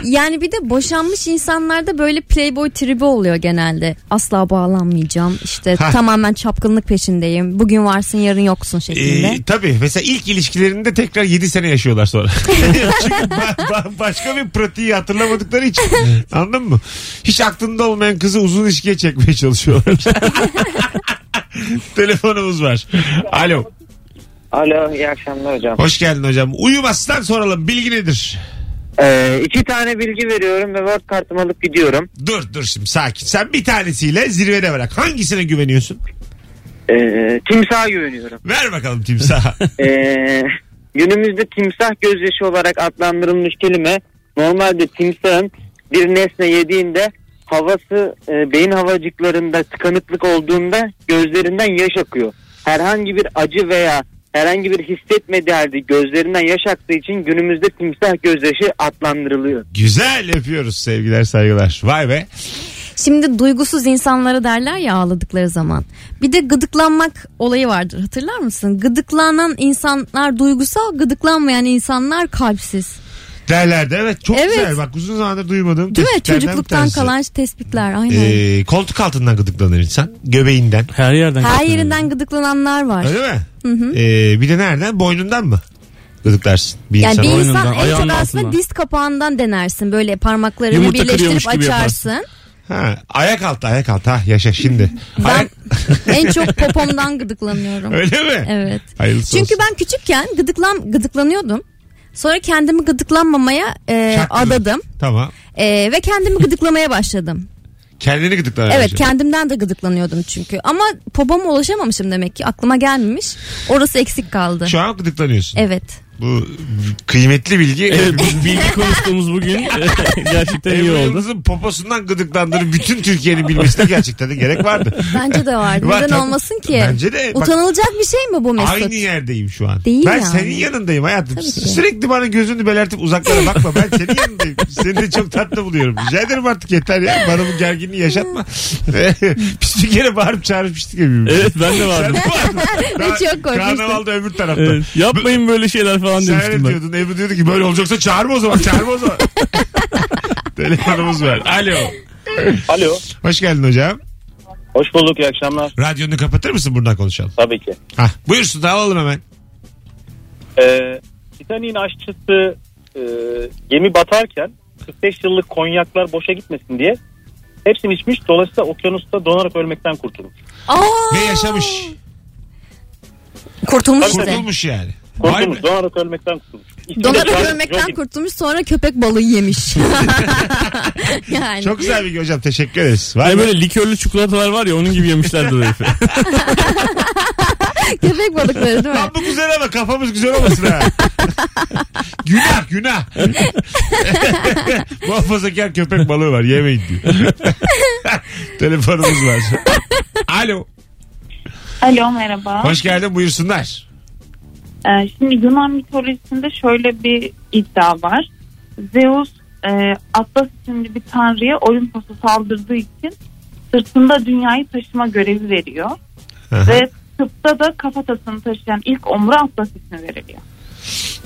[SPEAKER 3] Yani bir de boşanmış insanlarda böyle playboy tribi oluyor genelde. Asla bağlanmayacağım. İşte
[SPEAKER 2] Ha.
[SPEAKER 3] tamamen çapkınlık peşindeyim. Bugün varsın yarın yoksun şeklinde.
[SPEAKER 2] ee, tabii mesela ilk ilişkilerinde tekrar 7 sene yaşıyorlar sonra. Çünkü ba- ba- başka bir pratiği hatırlamadıkları için. Anladın mı? Hiç aklında olmayan kızı uzun ilişkiye çekmeye çalışıyorlar. Telefonumuz var. Alo.
[SPEAKER 9] Alo iyi akşamlar hocam.
[SPEAKER 2] Hoş geldin hocam. Uyumazsan soralım. Bilgi nedir?
[SPEAKER 9] Ee, iki tane bilgi veriyorum ve word kartımı alıp gidiyorum.
[SPEAKER 2] Dur dur şimdi sakin. Sen bir tanesiyle zirvede bırak. Hangisine güveniyorsun?
[SPEAKER 9] Ee, timsaha güveniyorum.
[SPEAKER 2] Ver bakalım timsaha.
[SPEAKER 9] Ee, günümüzde timsah gözyaşı olarak adlandırılmış kelime normalde timsahın bir nesne yediğinde havası e, beyin havacıklarında tıkanıklık olduğunda gözlerinden yaş akıyor. Herhangi bir acı veya herhangi bir hissetmediği halde gözlerinden yaş aktığı için günümüzde timsah gözyaşı adlandırılıyor.
[SPEAKER 2] Güzel yapıyoruz sevgiler saygılar. Vay be.
[SPEAKER 3] Şimdi duygusuz insanlara derler ya ağladıkları zaman. Bir de gıdıklanmak olayı vardır hatırlar mısın? Gıdıklanan insanlar duygusal, gıdıklanmayan insanlar kalpsiz.
[SPEAKER 2] Derlerde evet çok
[SPEAKER 3] Evet.
[SPEAKER 2] güzel. Bak uzun zamandır duymadığım
[SPEAKER 3] Değil mi?
[SPEAKER 2] tespitlerden bir
[SPEAKER 3] Çocukluktan
[SPEAKER 2] tanesi.
[SPEAKER 3] kalan tespitler aynen.
[SPEAKER 2] Ee, koltuk altından gıdıklanır insan. Göbeğinden.
[SPEAKER 4] Her yerden.
[SPEAKER 3] Her
[SPEAKER 4] katlanıyor.
[SPEAKER 3] yerinden gıdıklananlar var.
[SPEAKER 2] Öyle mi? Ee, bir de nereden? Boynundan mı? Gıdıklarsın. Bir
[SPEAKER 3] Yani
[SPEAKER 2] insan.
[SPEAKER 3] bir
[SPEAKER 4] boynundan,
[SPEAKER 3] insan en
[SPEAKER 4] ayağının
[SPEAKER 3] çok aslında
[SPEAKER 4] altından.
[SPEAKER 3] diz kapağından denersin. Böyle parmaklarını
[SPEAKER 4] Yumurta kırıyormuş
[SPEAKER 3] birleştirip
[SPEAKER 4] gibi
[SPEAKER 3] açarsın.
[SPEAKER 2] Ha, ayak altı ayak altı. Ha, yaşa şimdi. Ayak...
[SPEAKER 3] Ben en çok popomdan gıdıklanıyorum.
[SPEAKER 2] Öyle mi?
[SPEAKER 3] Evet.
[SPEAKER 2] Hayırlısı
[SPEAKER 3] Çünkü
[SPEAKER 2] olsun.
[SPEAKER 3] ben küçükken gıdıklan gıdıklanıyordum. Sonra kendimi gıdıklanmamaya e,
[SPEAKER 2] Çaktın.
[SPEAKER 3] adadım.
[SPEAKER 2] Tamam.
[SPEAKER 3] E, ve kendimi gıdıklamaya başladım.
[SPEAKER 2] Kendini gıdıklar.
[SPEAKER 3] evet
[SPEAKER 2] önce.
[SPEAKER 3] kendimden de gıdıklanıyordum çünkü. Ama popoma ulaşamamışım demek ki. Aklıma gelmemiş. Orası eksik kaldı.
[SPEAKER 2] Şu an gıdıklanıyorsun.
[SPEAKER 3] Evet.
[SPEAKER 2] Bu kıymetli bilgi.
[SPEAKER 4] Evet bu bilgi konuştuğumuz bugün e, gerçekten iyi
[SPEAKER 2] Ebru
[SPEAKER 4] oldu.
[SPEAKER 2] Yıldız'ın poposundan gıdıklandığını bütün Türkiye'nin bilmesine gerçekten de gerek vardı.
[SPEAKER 3] Bence de var.
[SPEAKER 2] Var
[SPEAKER 3] Neden
[SPEAKER 2] tabii.
[SPEAKER 3] olmasın ki?
[SPEAKER 2] Bence de. Bak-
[SPEAKER 3] Utanılacak bir şey mi bu Mesut?
[SPEAKER 2] Aynı yerdeyim şu an.
[SPEAKER 3] Değil
[SPEAKER 2] ben
[SPEAKER 3] yani.
[SPEAKER 2] senin yanındayım hayatım.
[SPEAKER 3] Tabii ki.
[SPEAKER 2] Sürekli bana gözünü belertip uzaklara bakma. Ben senin yanındayım. Seni de çok tatlı buluyorum. Rica ederim artık yeter ya. Bana bu gerginliği yaşatma. Biz bir kere bağırıp çağrışmıştık ya birbirimize.
[SPEAKER 4] Evet ben de vardım.
[SPEAKER 3] Ve çok korkmuştum.
[SPEAKER 2] Karnavalda öbür tarafta.
[SPEAKER 4] Evet, yapmayın böyle şeyler falan
[SPEAKER 2] Sen
[SPEAKER 4] demiştim
[SPEAKER 2] ne
[SPEAKER 4] ben.
[SPEAKER 2] diyordun? Ebru diyordu ki böyle olacaksa çağırma o zaman. Çağırma o zaman. Telefonumuz var. Alo.
[SPEAKER 10] Alo.
[SPEAKER 2] Hoş geldin hocam.
[SPEAKER 10] Hoş bulduk. iyi akşamlar.
[SPEAKER 2] Radyonu kapatır mısın buradan konuşalım?
[SPEAKER 10] Tabii ki.
[SPEAKER 2] Hah, buyursun da alalım hemen.
[SPEAKER 10] Ee, Titanik'in aşçısı e, gemi batarken 45 yıllık konyaklar boşa gitmesin diye hepsini içmiş. Dolayısıyla okyanusta donarak ölmekten kurtulmuş.
[SPEAKER 3] Aa!
[SPEAKER 2] Ve yaşamış.
[SPEAKER 3] Kurtulmuş işte.
[SPEAKER 2] Kurtulmuş yani. Vay be.
[SPEAKER 10] Kurtulmuş. Donarak ölmekten kurtulmuş. şey İsmi de
[SPEAKER 3] Donarak
[SPEAKER 10] Charles
[SPEAKER 3] ölmekten
[SPEAKER 10] Jogging.
[SPEAKER 3] kurtulmuş sonra köpek balığı yemiş. yani.
[SPEAKER 2] Çok güzel bilgi hocam. Teşekkür ederiz. Vay be.
[SPEAKER 4] Hani böyle likörlü çikolatalar var ya onun gibi yemişlerdi o herifi.
[SPEAKER 3] Köpek balıkları değil mi?
[SPEAKER 2] Lan bu güzel ama kafamız güzel olmasın ha. günah günah. Muhafazakar köpek balığı var yemeyin diyor. Telefonumuz var. Alo.
[SPEAKER 5] Alo merhaba.
[SPEAKER 2] Hoş geldin buyursunlar.
[SPEAKER 5] Ee, şimdi Yunan mitolojisinde şöyle bir iddia var. Zeus e, Atlas isimli bir tanrıya Olimpos'a saldırdığı için sırtında dünyayı taşıma görevi veriyor.
[SPEAKER 2] Aha.
[SPEAKER 5] Ve tıpta da kafatasını taşıyan ilk omura Atlas ismi veriliyor.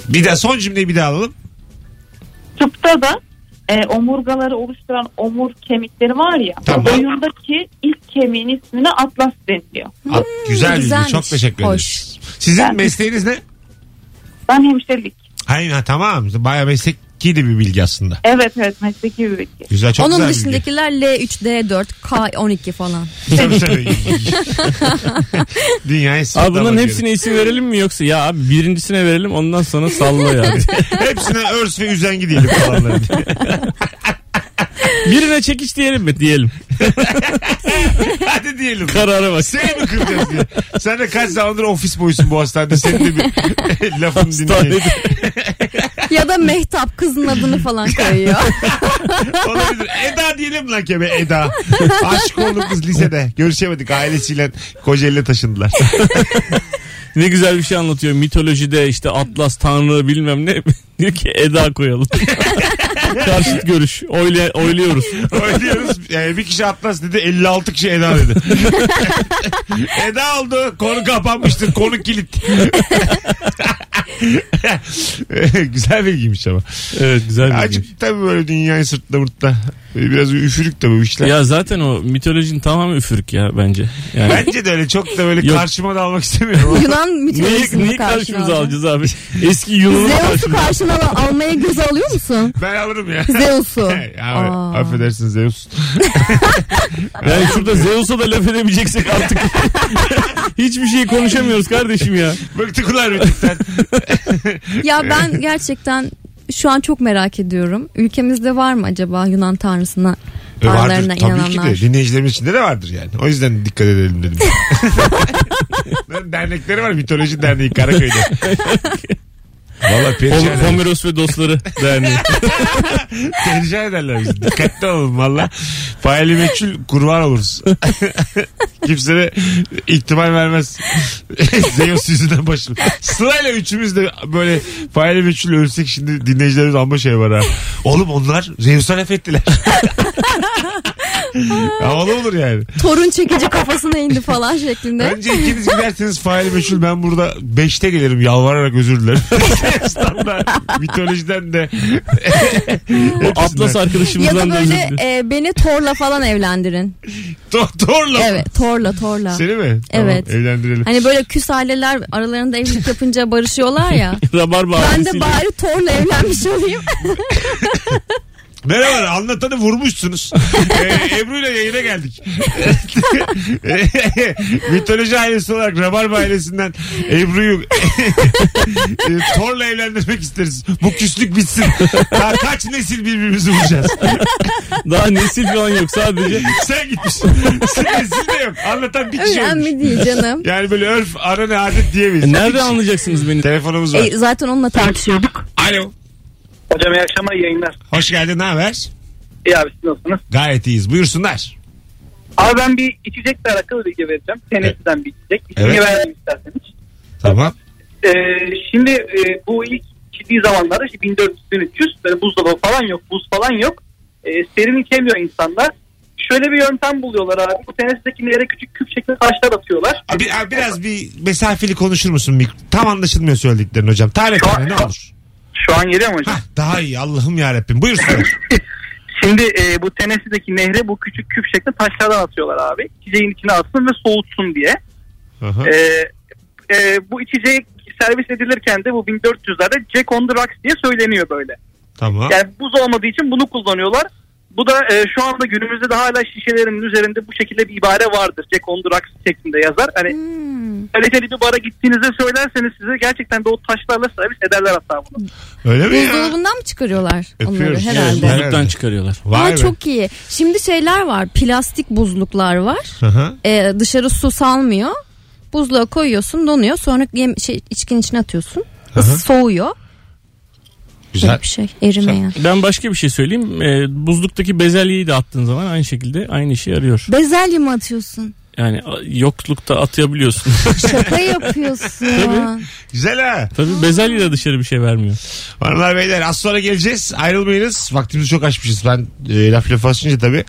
[SPEAKER 2] Bir daha son cümleyi bir daha alalım.
[SPEAKER 5] Tıpta da e, omurgaları oluşturan omur kemikleri var ya.
[SPEAKER 2] Tamam.
[SPEAKER 5] Oyundaki ilk kemiğin ismine Atlas deniliyor.
[SPEAKER 2] At- güzel bilgi.
[SPEAKER 3] güzelmiş.
[SPEAKER 2] Çok teşekkür
[SPEAKER 3] Hoş.
[SPEAKER 2] ederiz. Sizin
[SPEAKER 5] Ben-
[SPEAKER 2] mesleğiniz ne?
[SPEAKER 5] Ben hemşirelik.
[SPEAKER 2] Hayır ha, tamam. Bayağı meslekliydi bir bilgi aslında.
[SPEAKER 5] Evet evet mesleki bir bilgi.
[SPEAKER 2] Güzel çok
[SPEAKER 3] Onun
[SPEAKER 2] güzel
[SPEAKER 3] dışındakiler L3, D4, K12 falan.
[SPEAKER 2] bilgi. Tabii tabii. Dünyayı
[SPEAKER 4] Abi bunların
[SPEAKER 2] sırtlama
[SPEAKER 4] hepsine isim verelim mi yoksa ya abi birincisine verelim ondan sonra salla ya.
[SPEAKER 2] diyorum. Hepsine örs ve üzengi diyelim falanları.
[SPEAKER 4] Birine çekiç diyelim mi? Diyelim.
[SPEAKER 2] Hadi diyelim.
[SPEAKER 4] Karara bak.
[SPEAKER 2] Seni mi kıracağız diye. Sen de kaç zamandır ofis boyusun bu hastanede. Senin de bir lafını dinleyelim.
[SPEAKER 3] ya da Mehtap kızın adını falan koyuyor.
[SPEAKER 2] Olabilir. Eda diyelim lan kebe Eda. Aşık olduk biz lisede. Görüşemedik ailesiyle. Kocaeli'ne taşındılar.
[SPEAKER 4] Ne güzel bir şey anlatıyor. Mitolojide işte Atlas, Tanrı bilmem ne. Diyor ki Eda koyalım. Karşıt görüş. Oyla, oyluyoruz.
[SPEAKER 2] Oynuyoruz. Ee, bir kişi Atlas dedi 56 kişi Eda dedi. Eda oldu. Konu kapanmıştır. Konu kilit. Güzel bilgiymiş ama.
[SPEAKER 4] Evet güzel bir
[SPEAKER 2] Acık tabii böyle dünyayı sırtla mırtla. Biraz üfürük de bu işler.
[SPEAKER 4] Ya zaten o mitolojinin tamamı üfürük ya bence. Yani
[SPEAKER 2] Bence de öyle çok da böyle
[SPEAKER 4] Yok.
[SPEAKER 2] karşıma da almak istemiyorum.
[SPEAKER 3] Yunan
[SPEAKER 4] niye,
[SPEAKER 3] mitolojisini
[SPEAKER 4] niye karşımıza alacağız abi? Eski Yunan'ı
[SPEAKER 3] Zeus'u
[SPEAKER 4] karşımıza
[SPEAKER 3] karşına al- almaya göze alıyor musun?
[SPEAKER 2] ben alırım ya.
[SPEAKER 3] Zeus'u.
[SPEAKER 2] Abi,
[SPEAKER 3] Aa.
[SPEAKER 2] affedersin Zeus.
[SPEAKER 4] Yani şurada Zeus'a da laf edemeyeceksek artık. Hiçbir şey konuşamıyoruz kardeşim ya.
[SPEAKER 2] Bıktık ulan rütükten.
[SPEAKER 3] Ya ben gerçekten şu an çok merak ediyorum. Ülkemizde var mı acaba Yunan tanrısına
[SPEAKER 2] E, vardır
[SPEAKER 3] tanrılarına
[SPEAKER 2] tabii ki
[SPEAKER 3] inananlar?
[SPEAKER 2] de. Dinleyicilerimiz içinde de vardır yani. O yüzden dikkat edelim dedim. Dernekleri var. Mitoloji Derneği Karaköy'de. Valla perişan,
[SPEAKER 4] Hom- Homeros ve dostları derneği.
[SPEAKER 2] perişan ederler bizi. Dikkatli olun valla. Faili meçhul kurban oluruz. Kimse de ihtimal vermez. Zeus yüzünden başım. Sırayla üçümüz de böyle faili meçhul ölsek şimdi dinleyicilerimiz amma şey var ha. Oğlum onlar Zeus'a laf ettiler. Havalı olur yani.
[SPEAKER 3] Torun çekici kafasına indi falan şeklinde.
[SPEAKER 2] Önce ikiniz giderseniz fail meşhur ben burada 5'te gelirim yalvararak özür dilerim. Standart mitolojiden de.
[SPEAKER 4] O
[SPEAKER 3] Ya
[SPEAKER 4] Atlas
[SPEAKER 3] da
[SPEAKER 4] arkadaşımızdan da özür
[SPEAKER 3] böyle
[SPEAKER 4] dilerim.
[SPEAKER 3] e, beni Thor'la falan evlendirin.
[SPEAKER 2] Doktorla.
[SPEAKER 3] Evet Thor'la Thor'la.
[SPEAKER 2] Seni mi?
[SPEAKER 3] Evet.
[SPEAKER 2] Tamam, evlendirelim.
[SPEAKER 3] Hani böyle küs aileler aralarında evlilik yapınca barışıyorlar ya.
[SPEAKER 4] Rabarba
[SPEAKER 3] Ben de
[SPEAKER 4] ailesiyle.
[SPEAKER 3] bari Thor'la evlenmiş olayım.
[SPEAKER 2] Merhabalar anlatanı vurmuşsunuz. ee, Ebru ile yayına geldik. Mitoloji ailesi olarak Rabarba ailesinden Ebru'yu e, Thor'la evlendirmek isteriz. Bu küslük bitsin. Daha kaç nesil birbirimizi vuracağız.
[SPEAKER 4] Daha nesil falan yok sadece.
[SPEAKER 2] Sen gitmişsin. Nesil de yok. Anlatan bir kişi olmuş.
[SPEAKER 3] Önemli değil canım.
[SPEAKER 2] Yani böyle örf, ara ne adet diyemeyiz.
[SPEAKER 4] E, Nerede anlayacaksınız beni?
[SPEAKER 2] Telefonumuz var.
[SPEAKER 3] E, zaten onunla tartışıyorduk.
[SPEAKER 2] Alo.
[SPEAKER 9] Hocam iyi akşamlar yayınlar.
[SPEAKER 2] Hoş geldin ne haber?
[SPEAKER 9] İyi abi siz nasılsınız?
[SPEAKER 2] Gayet iyiyiz. Buyursunlar.
[SPEAKER 9] Abi ben bir içecekle alakalı bilgi vereceğim. Tennessee'den bir içecek. İsmini
[SPEAKER 2] Evet.
[SPEAKER 9] vermemi isterseniz.
[SPEAKER 2] Tamam.
[SPEAKER 9] Ee, şimdi e, bu ilk ciddi zamanlarda işte 1400-1300 böyle buzdolabı falan yok, buz falan yok. E, serin içemiyor insanlar. Şöyle bir yöntem buluyorlar abi. Bu Tennessee'dekilere küçük küp şeklinde taşlar atıyorlar.
[SPEAKER 2] Abi, abi biraz bir mesafeli konuşur musun? Mik- Tam anlaşılmıyor söylediklerin hocam. Tane tane ne olur?
[SPEAKER 9] Şu an geliyor mu hocam?
[SPEAKER 2] Hah, daha iyi Allah'ım yarabbim. Buyursunlar.
[SPEAKER 9] Şimdi e, bu Tennessee'deki nehre bu küçük küp şeklinde taşlardan atıyorlar abi. İçeceğin içine atsın ve soğutsun diye.
[SPEAKER 2] Aha.
[SPEAKER 9] E, e, bu içecek servis edilirken de bu 1400'lerde Jack on the Rocks diye söyleniyor böyle.
[SPEAKER 2] tamam.
[SPEAKER 9] Yani buz olmadığı için bunu kullanıyorlar. Bu da e, şu anda günümüzde de hala şişelerinin üzerinde bu şekilde bir ibare vardır. Jack on the Rocks şeklinde yazar. Hani
[SPEAKER 3] Hmm.
[SPEAKER 9] kaliteli bir bara gittiğinizde söylerseniz size gerçekten de o taşlarla servis ederler hatta bunu.
[SPEAKER 2] Öyle mi ya?
[SPEAKER 3] Buzdolabından mı çıkarıyorlar onları
[SPEAKER 2] Öpüyoruz.
[SPEAKER 3] herhalde?
[SPEAKER 2] Evet.
[SPEAKER 4] Buzluktan çıkarıyorlar.
[SPEAKER 2] Vay
[SPEAKER 3] Aa,
[SPEAKER 2] be.
[SPEAKER 3] çok iyi. Şimdi şeyler var. Plastik buzluklar var.
[SPEAKER 2] Aha.
[SPEAKER 3] Ee, dışarı su salmıyor. Buzluğa koyuyorsun donuyor. Sonra yem, şey, içkinin içine atıyorsun.
[SPEAKER 2] Hı hı.
[SPEAKER 3] Soğuyor.
[SPEAKER 2] Güzel.
[SPEAKER 3] Böyle bir şey. Erimeyen.
[SPEAKER 4] Ben başka bir şey söyleyeyim. E, buzluktaki bezelyeyi de attığın zaman aynı şekilde aynı işe yarıyor.
[SPEAKER 3] Bezelye mi atıyorsun?
[SPEAKER 4] Yani a- yoklukta atayabiliyorsun.
[SPEAKER 3] Şaka yapıyorsun.
[SPEAKER 2] Güzel ha.
[SPEAKER 4] Tabii bezelye de dışarı bir şey vermiyor.
[SPEAKER 2] Hanımlar beyler az sonra geleceğiz. Ayrılmayınız. Vaktimizi çok açmışız. Ben e, laf lafı açınca tabii.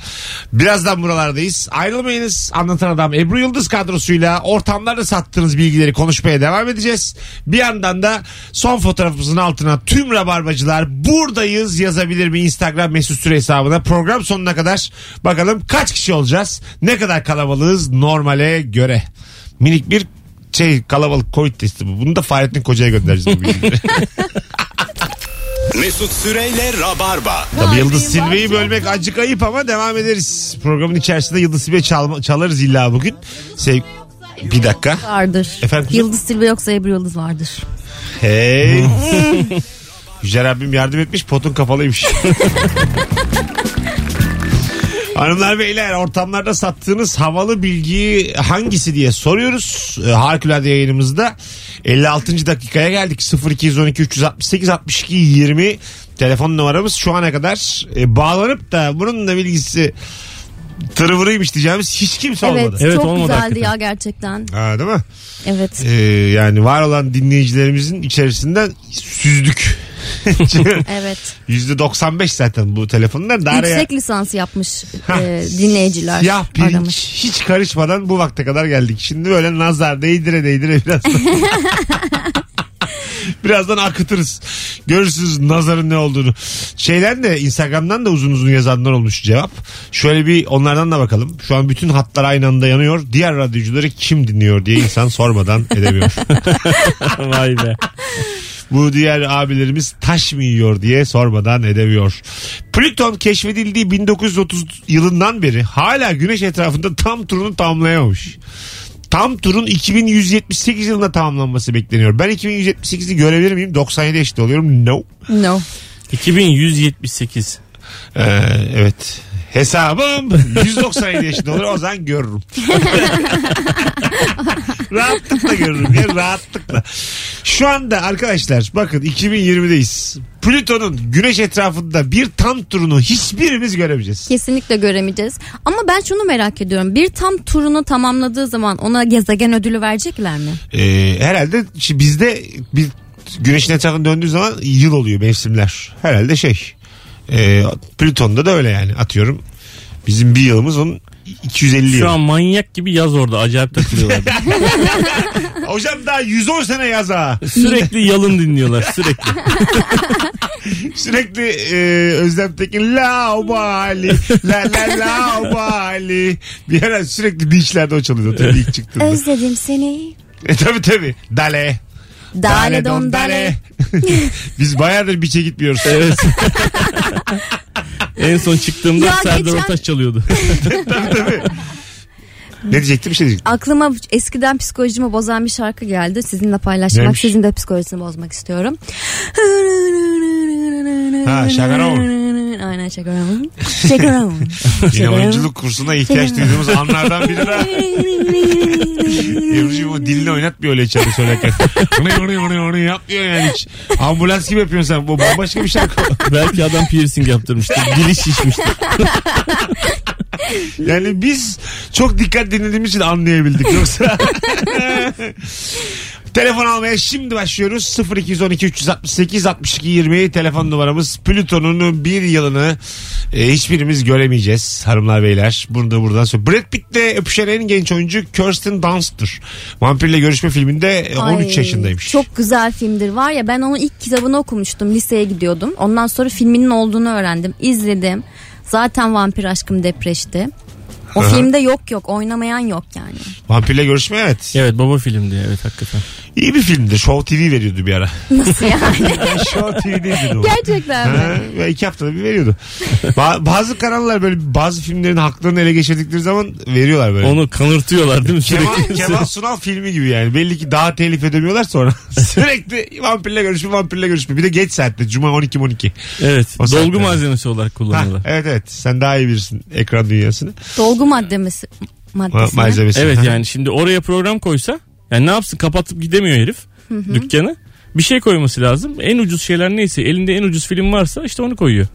[SPEAKER 2] Birazdan buralardayız. Ayrılmayınız. Anlatan Adam Ebru Yıldız kadrosuyla ortamlarda sattığınız bilgileri konuşmaya devam edeceğiz. Bir yandan da son fotoğrafımızın altına tüm rabarbacılar buradayız yazabilir mi Instagram mesut süre hesabına. Program sonuna kadar bakalım kaç kişi olacağız? Ne kadar kalabalığız normale göre? Minik bir şey kalabalık covid testi bu. Bunu da Fahrettin Koca'ya göndereceğiz bu bilgileri.
[SPEAKER 1] Mesut Süreyle Rabarba.
[SPEAKER 2] Tabii Yıldız Silve'yi bölmek acık ayıp ama devam ederiz. Programın içerisinde Yıldız Silve çalma- çalarız illa bugün. Sev bir dakika.
[SPEAKER 3] Vardır.
[SPEAKER 2] Efendim kızım?
[SPEAKER 3] Yıldız Silva yoksa Ebru Yıldız vardır.
[SPEAKER 2] Hey. Yüce Rabbim yardım etmiş potun kafalıymış. Hanımlar beyler ortamlarda sattığınız havalı bilgi hangisi diye soruyoruz. Ee, Harikulade yayınımızda 56. dakikaya geldik. 0212 368 62 20 telefon numaramız şu ana kadar e, bağlanıp da bunun da bilgisi tırvırıymış diyeceğimiz hiç kimse
[SPEAKER 3] Evet,
[SPEAKER 2] olmadı.
[SPEAKER 4] Evet,
[SPEAKER 3] çok
[SPEAKER 4] olmadı
[SPEAKER 3] güzeldi
[SPEAKER 4] hakikaten.
[SPEAKER 3] ya gerçekten.
[SPEAKER 2] Ha, değil mi?
[SPEAKER 3] Evet.
[SPEAKER 2] Ee, yani var olan dinleyicilerimizin içerisinden süzdük. Ee,
[SPEAKER 3] Evet.
[SPEAKER 2] %95 zaten bu telefonlar. Da araya-
[SPEAKER 3] Yüksek lisans yapmış
[SPEAKER 2] Hah.
[SPEAKER 3] e, dinleyiciler
[SPEAKER 2] Siyah pirinç
[SPEAKER 3] aramış.
[SPEAKER 2] hiç karışmadan bu vakte kadar geldik. Şimdi böyle nazar değdire değdire biraz. Birazdan akıtırız. Görürsünüz nazarın ne olduğunu. Şeyden de Instagram'dan da uzun uzun yazanlar olmuş cevap. Şöyle bir onlardan da bakalım. Şu an bütün hatlar aynı anda yanıyor. Diğer radyocuları kim dinliyor diye insan sormadan edemiyor.
[SPEAKER 4] Vay be.
[SPEAKER 2] Bu diğer abilerimiz taş mı yiyor diye sormadan edemiyor. Plüton keşfedildiği 1930 yılından beri hala güneş etrafında tam turunu tamamlayamamış. Tam turun 2178 yılında tamamlanması bekleniyor. Ben 2178'i görebilir miyim? 97 eşit oluyorum. No.
[SPEAKER 3] No.
[SPEAKER 4] 2178.
[SPEAKER 2] Ee, evet. Hesabım 197 yaşında olur o zaman görürüm. rahatlıkla görürüm ya rahatlıkla. Şu anda arkadaşlar bakın 2020'deyiz. Plüton'un güneş etrafında bir tam turunu hiçbirimiz göremeyeceğiz.
[SPEAKER 3] Kesinlikle göremeyeceğiz. Ama ben şunu merak ediyorum. Bir tam turunu tamamladığı zaman ona gezegen ödülü verecekler mi?
[SPEAKER 2] Ee, herhalde şi- bizde bir güneşin etrafında döndüğü zaman yıl oluyor mevsimler. Herhalde şey. Ee, Plüton'da da öyle yani atıyorum. Bizim bir yılımız onun 250 yılı.
[SPEAKER 4] Şu an manyak gibi yaz orada acayip takılıyorlar.
[SPEAKER 2] Hocam daha 110 sene yaz ha.
[SPEAKER 4] sürekli yalın dinliyorlar sürekli.
[SPEAKER 2] Sürekli e, Özlem Tekin la bali la la la bali bir ara sürekli beachlerde o çalıyordu tabii ilk çıktığında.
[SPEAKER 3] Özledim seni.
[SPEAKER 2] e tabii tabii. Dale.
[SPEAKER 3] Dale don dale.
[SPEAKER 2] Biz bayağıdır beach'e gitmiyoruz.
[SPEAKER 4] Evet. en son çıktığımda
[SPEAKER 3] Ya
[SPEAKER 4] Serdar
[SPEAKER 3] geçen-
[SPEAKER 4] Ortaç çalıyordu.
[SPEAKER 2] ne diyecektim bir şey diyecektim.
[SPEAKER 3] Aklıma eskiden psikolojimi bozan bir şarkı geldi. Sizinle paylaşmak,
[SPEAKER 2] Neymiş?
[SPEAKER 3] sizin de psikolojisini bozmak istiyorum.
[SPEAKER 2] Ha, Şagaron.
[SPEAKER 3] Aynen Şagaron. Şagaron.
[SPEAKER 2] Yine oyunculuk kursuna ihtiyaç duyduğumuz anlardan biri de Ebru'cum o dilini oynatmıyor öyle içeri söylerken. Onu onu onu onu yapmıyor yani hiç. Ambulans gibi yapıyorsun sen. Bu bambaşka bir şey. şarkı.
[SPEAKER 4] Belki adam piercing yaptırmıştı. Dili şişmişti.
[SPEAKER 2] Yani biz çok dikkat dinlediğimiz için anlayabildik yoksa. Telefon almaya şimdi başlıyoruz. 0212 368 62 20 telefon numaramız. Plüton'un bir yılını e, hiçbirimiz göremeyeceğiz hanımlar beyler. Bunu da buradan söyle. Brad Pitt'le öpüşen en genç oyuncu Kirsten Dunst'tır. Vampirle görüşme filminde e, 13
[SPEAKER 3] Ay,
[SPEAKER 2] yaşındaymış.
[SPEAKER 3] Çok güzel filmdir. Var ya ben onun ilk kitabını okumuştum. Liseye gidiyordum. Ondan sonra filminin olduğunu öğrendim. İzledim. Zaten vampir aşkım depreşti. O
[SPEAKER 2] Aha.
[SPEAKER 3] filmde yok yok. Oynamayan yok yani.
[SPEAKER 2] Vampirle görüşme evet.
[SPEAKER 4] Evet baba filmdi evet hakikaten.
[SPEAKER 2] İyi bir filmdi. Show TV veriyordu bir ara.
[SPEAKER 3] Nasıl yani?
[SPEAKER 2] Show TV'deydi o.
[SPEAKER 3] Gerçekten mi?
[SPEAKER 2] Ha, ve iki haftada bir veriyordu. Ba- bazı kanallar böyle bazı filmlerin haklarını ele geçirdikleri zaman veriyorlar böyle.
[SPEAKER 4] Onu kanırtıyorlar değil mi
[SPEAKER 2] Kemal,
[SPEAKER 4] sürekli?
[SPEAKER 2] Kemal Sunal filmi gibi yani. Belli ki daha telif edemiyorlar sonra. Sürekli vampirle görüşme vampirle görüşme. Bir de geç saatte. Cuma 12-12.
[SPEAKER 4] evet
[SPEAKER 2] O saatte.
[SPEAKER 4] dolgu malzemesi olarak
[SPEAKER 2] Ha,
[SPEAKER 4] kullanıyorlar.
[SPEAKER 2] evet evet. Sen daha iyi bilirsin ekran dünyasını.
[SPEAKER 3] Dolgu maddemesi.
[SPEAKER 2] Ma-
[SPEAKER 3] Maddesi.
[SPEAKER 2] malzemesi.
[SPEAKER 4] Evet
[SPEAKER 2] Ha.
[SPEAKER 4] yani şimdi oraya program koysa yani ne yapsın kapatıp gidemiyor herif dükkanı. Bir şey koyması lazım. En ucuz şeyler neyse elinde en ucuz film varsa işte onu koyuyor.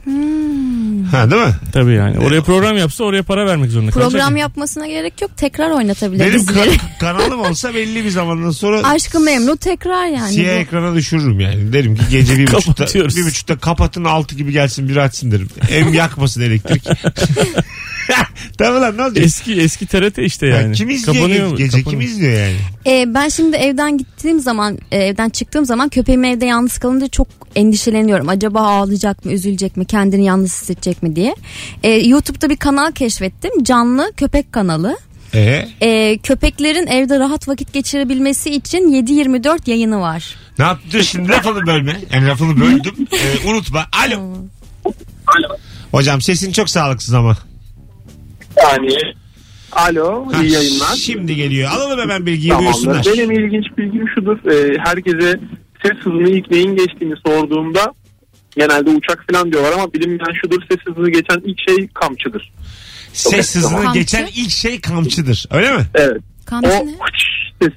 [SPEAKER 2] Ha değil mi?
[SPEAKER 4] Tabii yani. Oraya program yapsa oraya para vermek zorunda
[SPEAKER 3] Program
[SPEAKER 4] kalacak.
[SPEAKER 3] yapmasına gerek yok. Tekrar oynatabilir
[SPEAKER 2] Benim
[SPEAKER 3] dizileri.
[SPEAKER 2] ka- kanalım olsa belli bir zamandan sonra
[SPEAKER 3] Aşkı Memnu tekrar yani.
[SPEAKER 2] siyah
[SPEAKER 3] Bu-
[SPEAKER 2] ekrana düşürürüm yani. Derim ki gece bir buçukta,
[SPEAKER 4] Kapatıyoruz.
[SPEAKER 2] bir buçukta kapatın altı gibi gelsin biri açsın derim. Hem yakmasın elektrik. tamam lan ne olacak?
[SPEAKER 4] Eski eski TRT işte yani.
[SPEAKER 2] Ya kim izliyor
[SPEAKER 4] Kapanıyor mu?
[SPEAKER 2] gece, gece kim
[SPEAKER 4] Kapanıyor.
[SPEAKER 2] izliyor yani?
[SPEAKER 3] Ee, ben şimdi evden gittiğim zaman, e, evden çıktığım zaman köpeğim evde yalnız kalınca çok endişeleniyorum. Acaba ağlayacak mı, üzülecek mi, kendini yalnız hissedecek mi diye. Ee, YouTube'da bir kanal keşfettim. Canlı köpek kanalı.
[SPEAKER 2] Ee,
[SPEAKER 3] Ee, köpeklerin evde rahat vakit geçirebilmesi için 7-24 yayını var.
[SPEAKER 2] ne yaptın şimdi lafını bölme. Yani lafını böldüm. Ee, unutma. Alo. Hocam sesin çok sağlıksız ama.
[SPEAKER 11] Yani alo
[SPEAKER 2] Ha,
[SPEAKER 11] iyi yayınlar.
[SPEAKER 2] Şimdi geliyor. Alalım hemen bilgiyi buyursunlar.
[SPEAKER 11] Tamamdır. Benim ilginç bilgim şudur.
[SPEAKER 9] E,
[SPEAKER 11] Ee, herkese ses hızını ilk neyin geçtiğini sorduğumda genelde uçak falan diyorlar ama bilinmeyen şudur ses hızını geçen ilk şey kamçıdır.
[SPEAKER 2] Ses hızını
[SPEAKER 11] Kamçı.
[SPEAKER 2] geçen ilk şey kamçıdır. Öyle mi?
[SPEAKER 11] Evet.
[SPEAKER 3] Kamçı
[SPEAKER 11] o hıç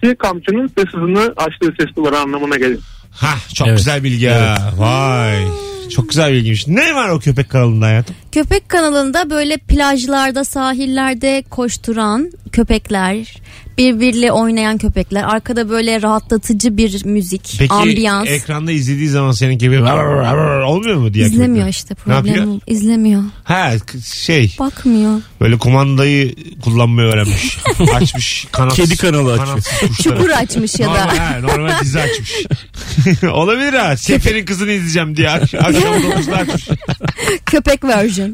[SPEAKER 11] sesi kamçının ses hızını açtığı ses duvarı anlamına gelir.
[SPEAKER 2] Ha çok
[SPEAKER 4] Evet.
[SPEAKER 2] güzel bilgi ya. Vay. Çok güzel bilgiymiş. Ne var o köpek kanalında hayatım?
[SPEAKER 3] Köpek kanalında böyle plajlarda, sahillerde koşturan köpekler, birbiriyle oynayan köpekler, arkada böyle rahatlatıcı bir müzik,
[SPEAKER 2] Peki e,
[SPEAKER 3] ambiyans.
[SPEAKER 2] ekranda izlediği zaman senin gibi "Var, var, var, var" olmuyor mu diye.
[SPEAKER 3] İzlemiyor işte
[SPEAKER 2] Ne yapıyor?
[SPEAKER 3] problem. İzlemiyor.
[SPEAKER 2] Ha şey
[SPEAKER 3] Bakmıyor.
[SPEAKER 2] böyle kumandayı kullanmayı öğrenmiş. açmış kanatsız.
[SPEAKER 4] Kedi kanalı açmış.
[SPEAKER 2] kanatsız kuşlara.
[SPEAKER 3] Çukur açmış ya da.
[SPEAKER 2] Normal, ha, normal dizi açmış. Olabilir ha. Sefer'in kızını izleyeceğim diye ak- akşam 9'da açmış.
[SPEAKER 3] Köpek version.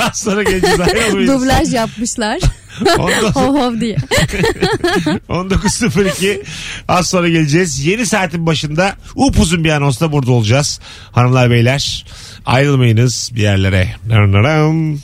[SPEAKER 2] Az sonra geleceğiz ayrılmayız.
[SPEAKER 3] Dublaj yapmışlar.
[SPEAKER 2] Ondan sonra-
[SPEAKER 3] hov hov diye.
[SPEAKER 2] 19.02 az sonra geleceğiz. Yeni saatin başında upuzun bir anonsla burada olacağız. Hanımlar beyler ayrılmayınız bir yerlere. Dırnırım.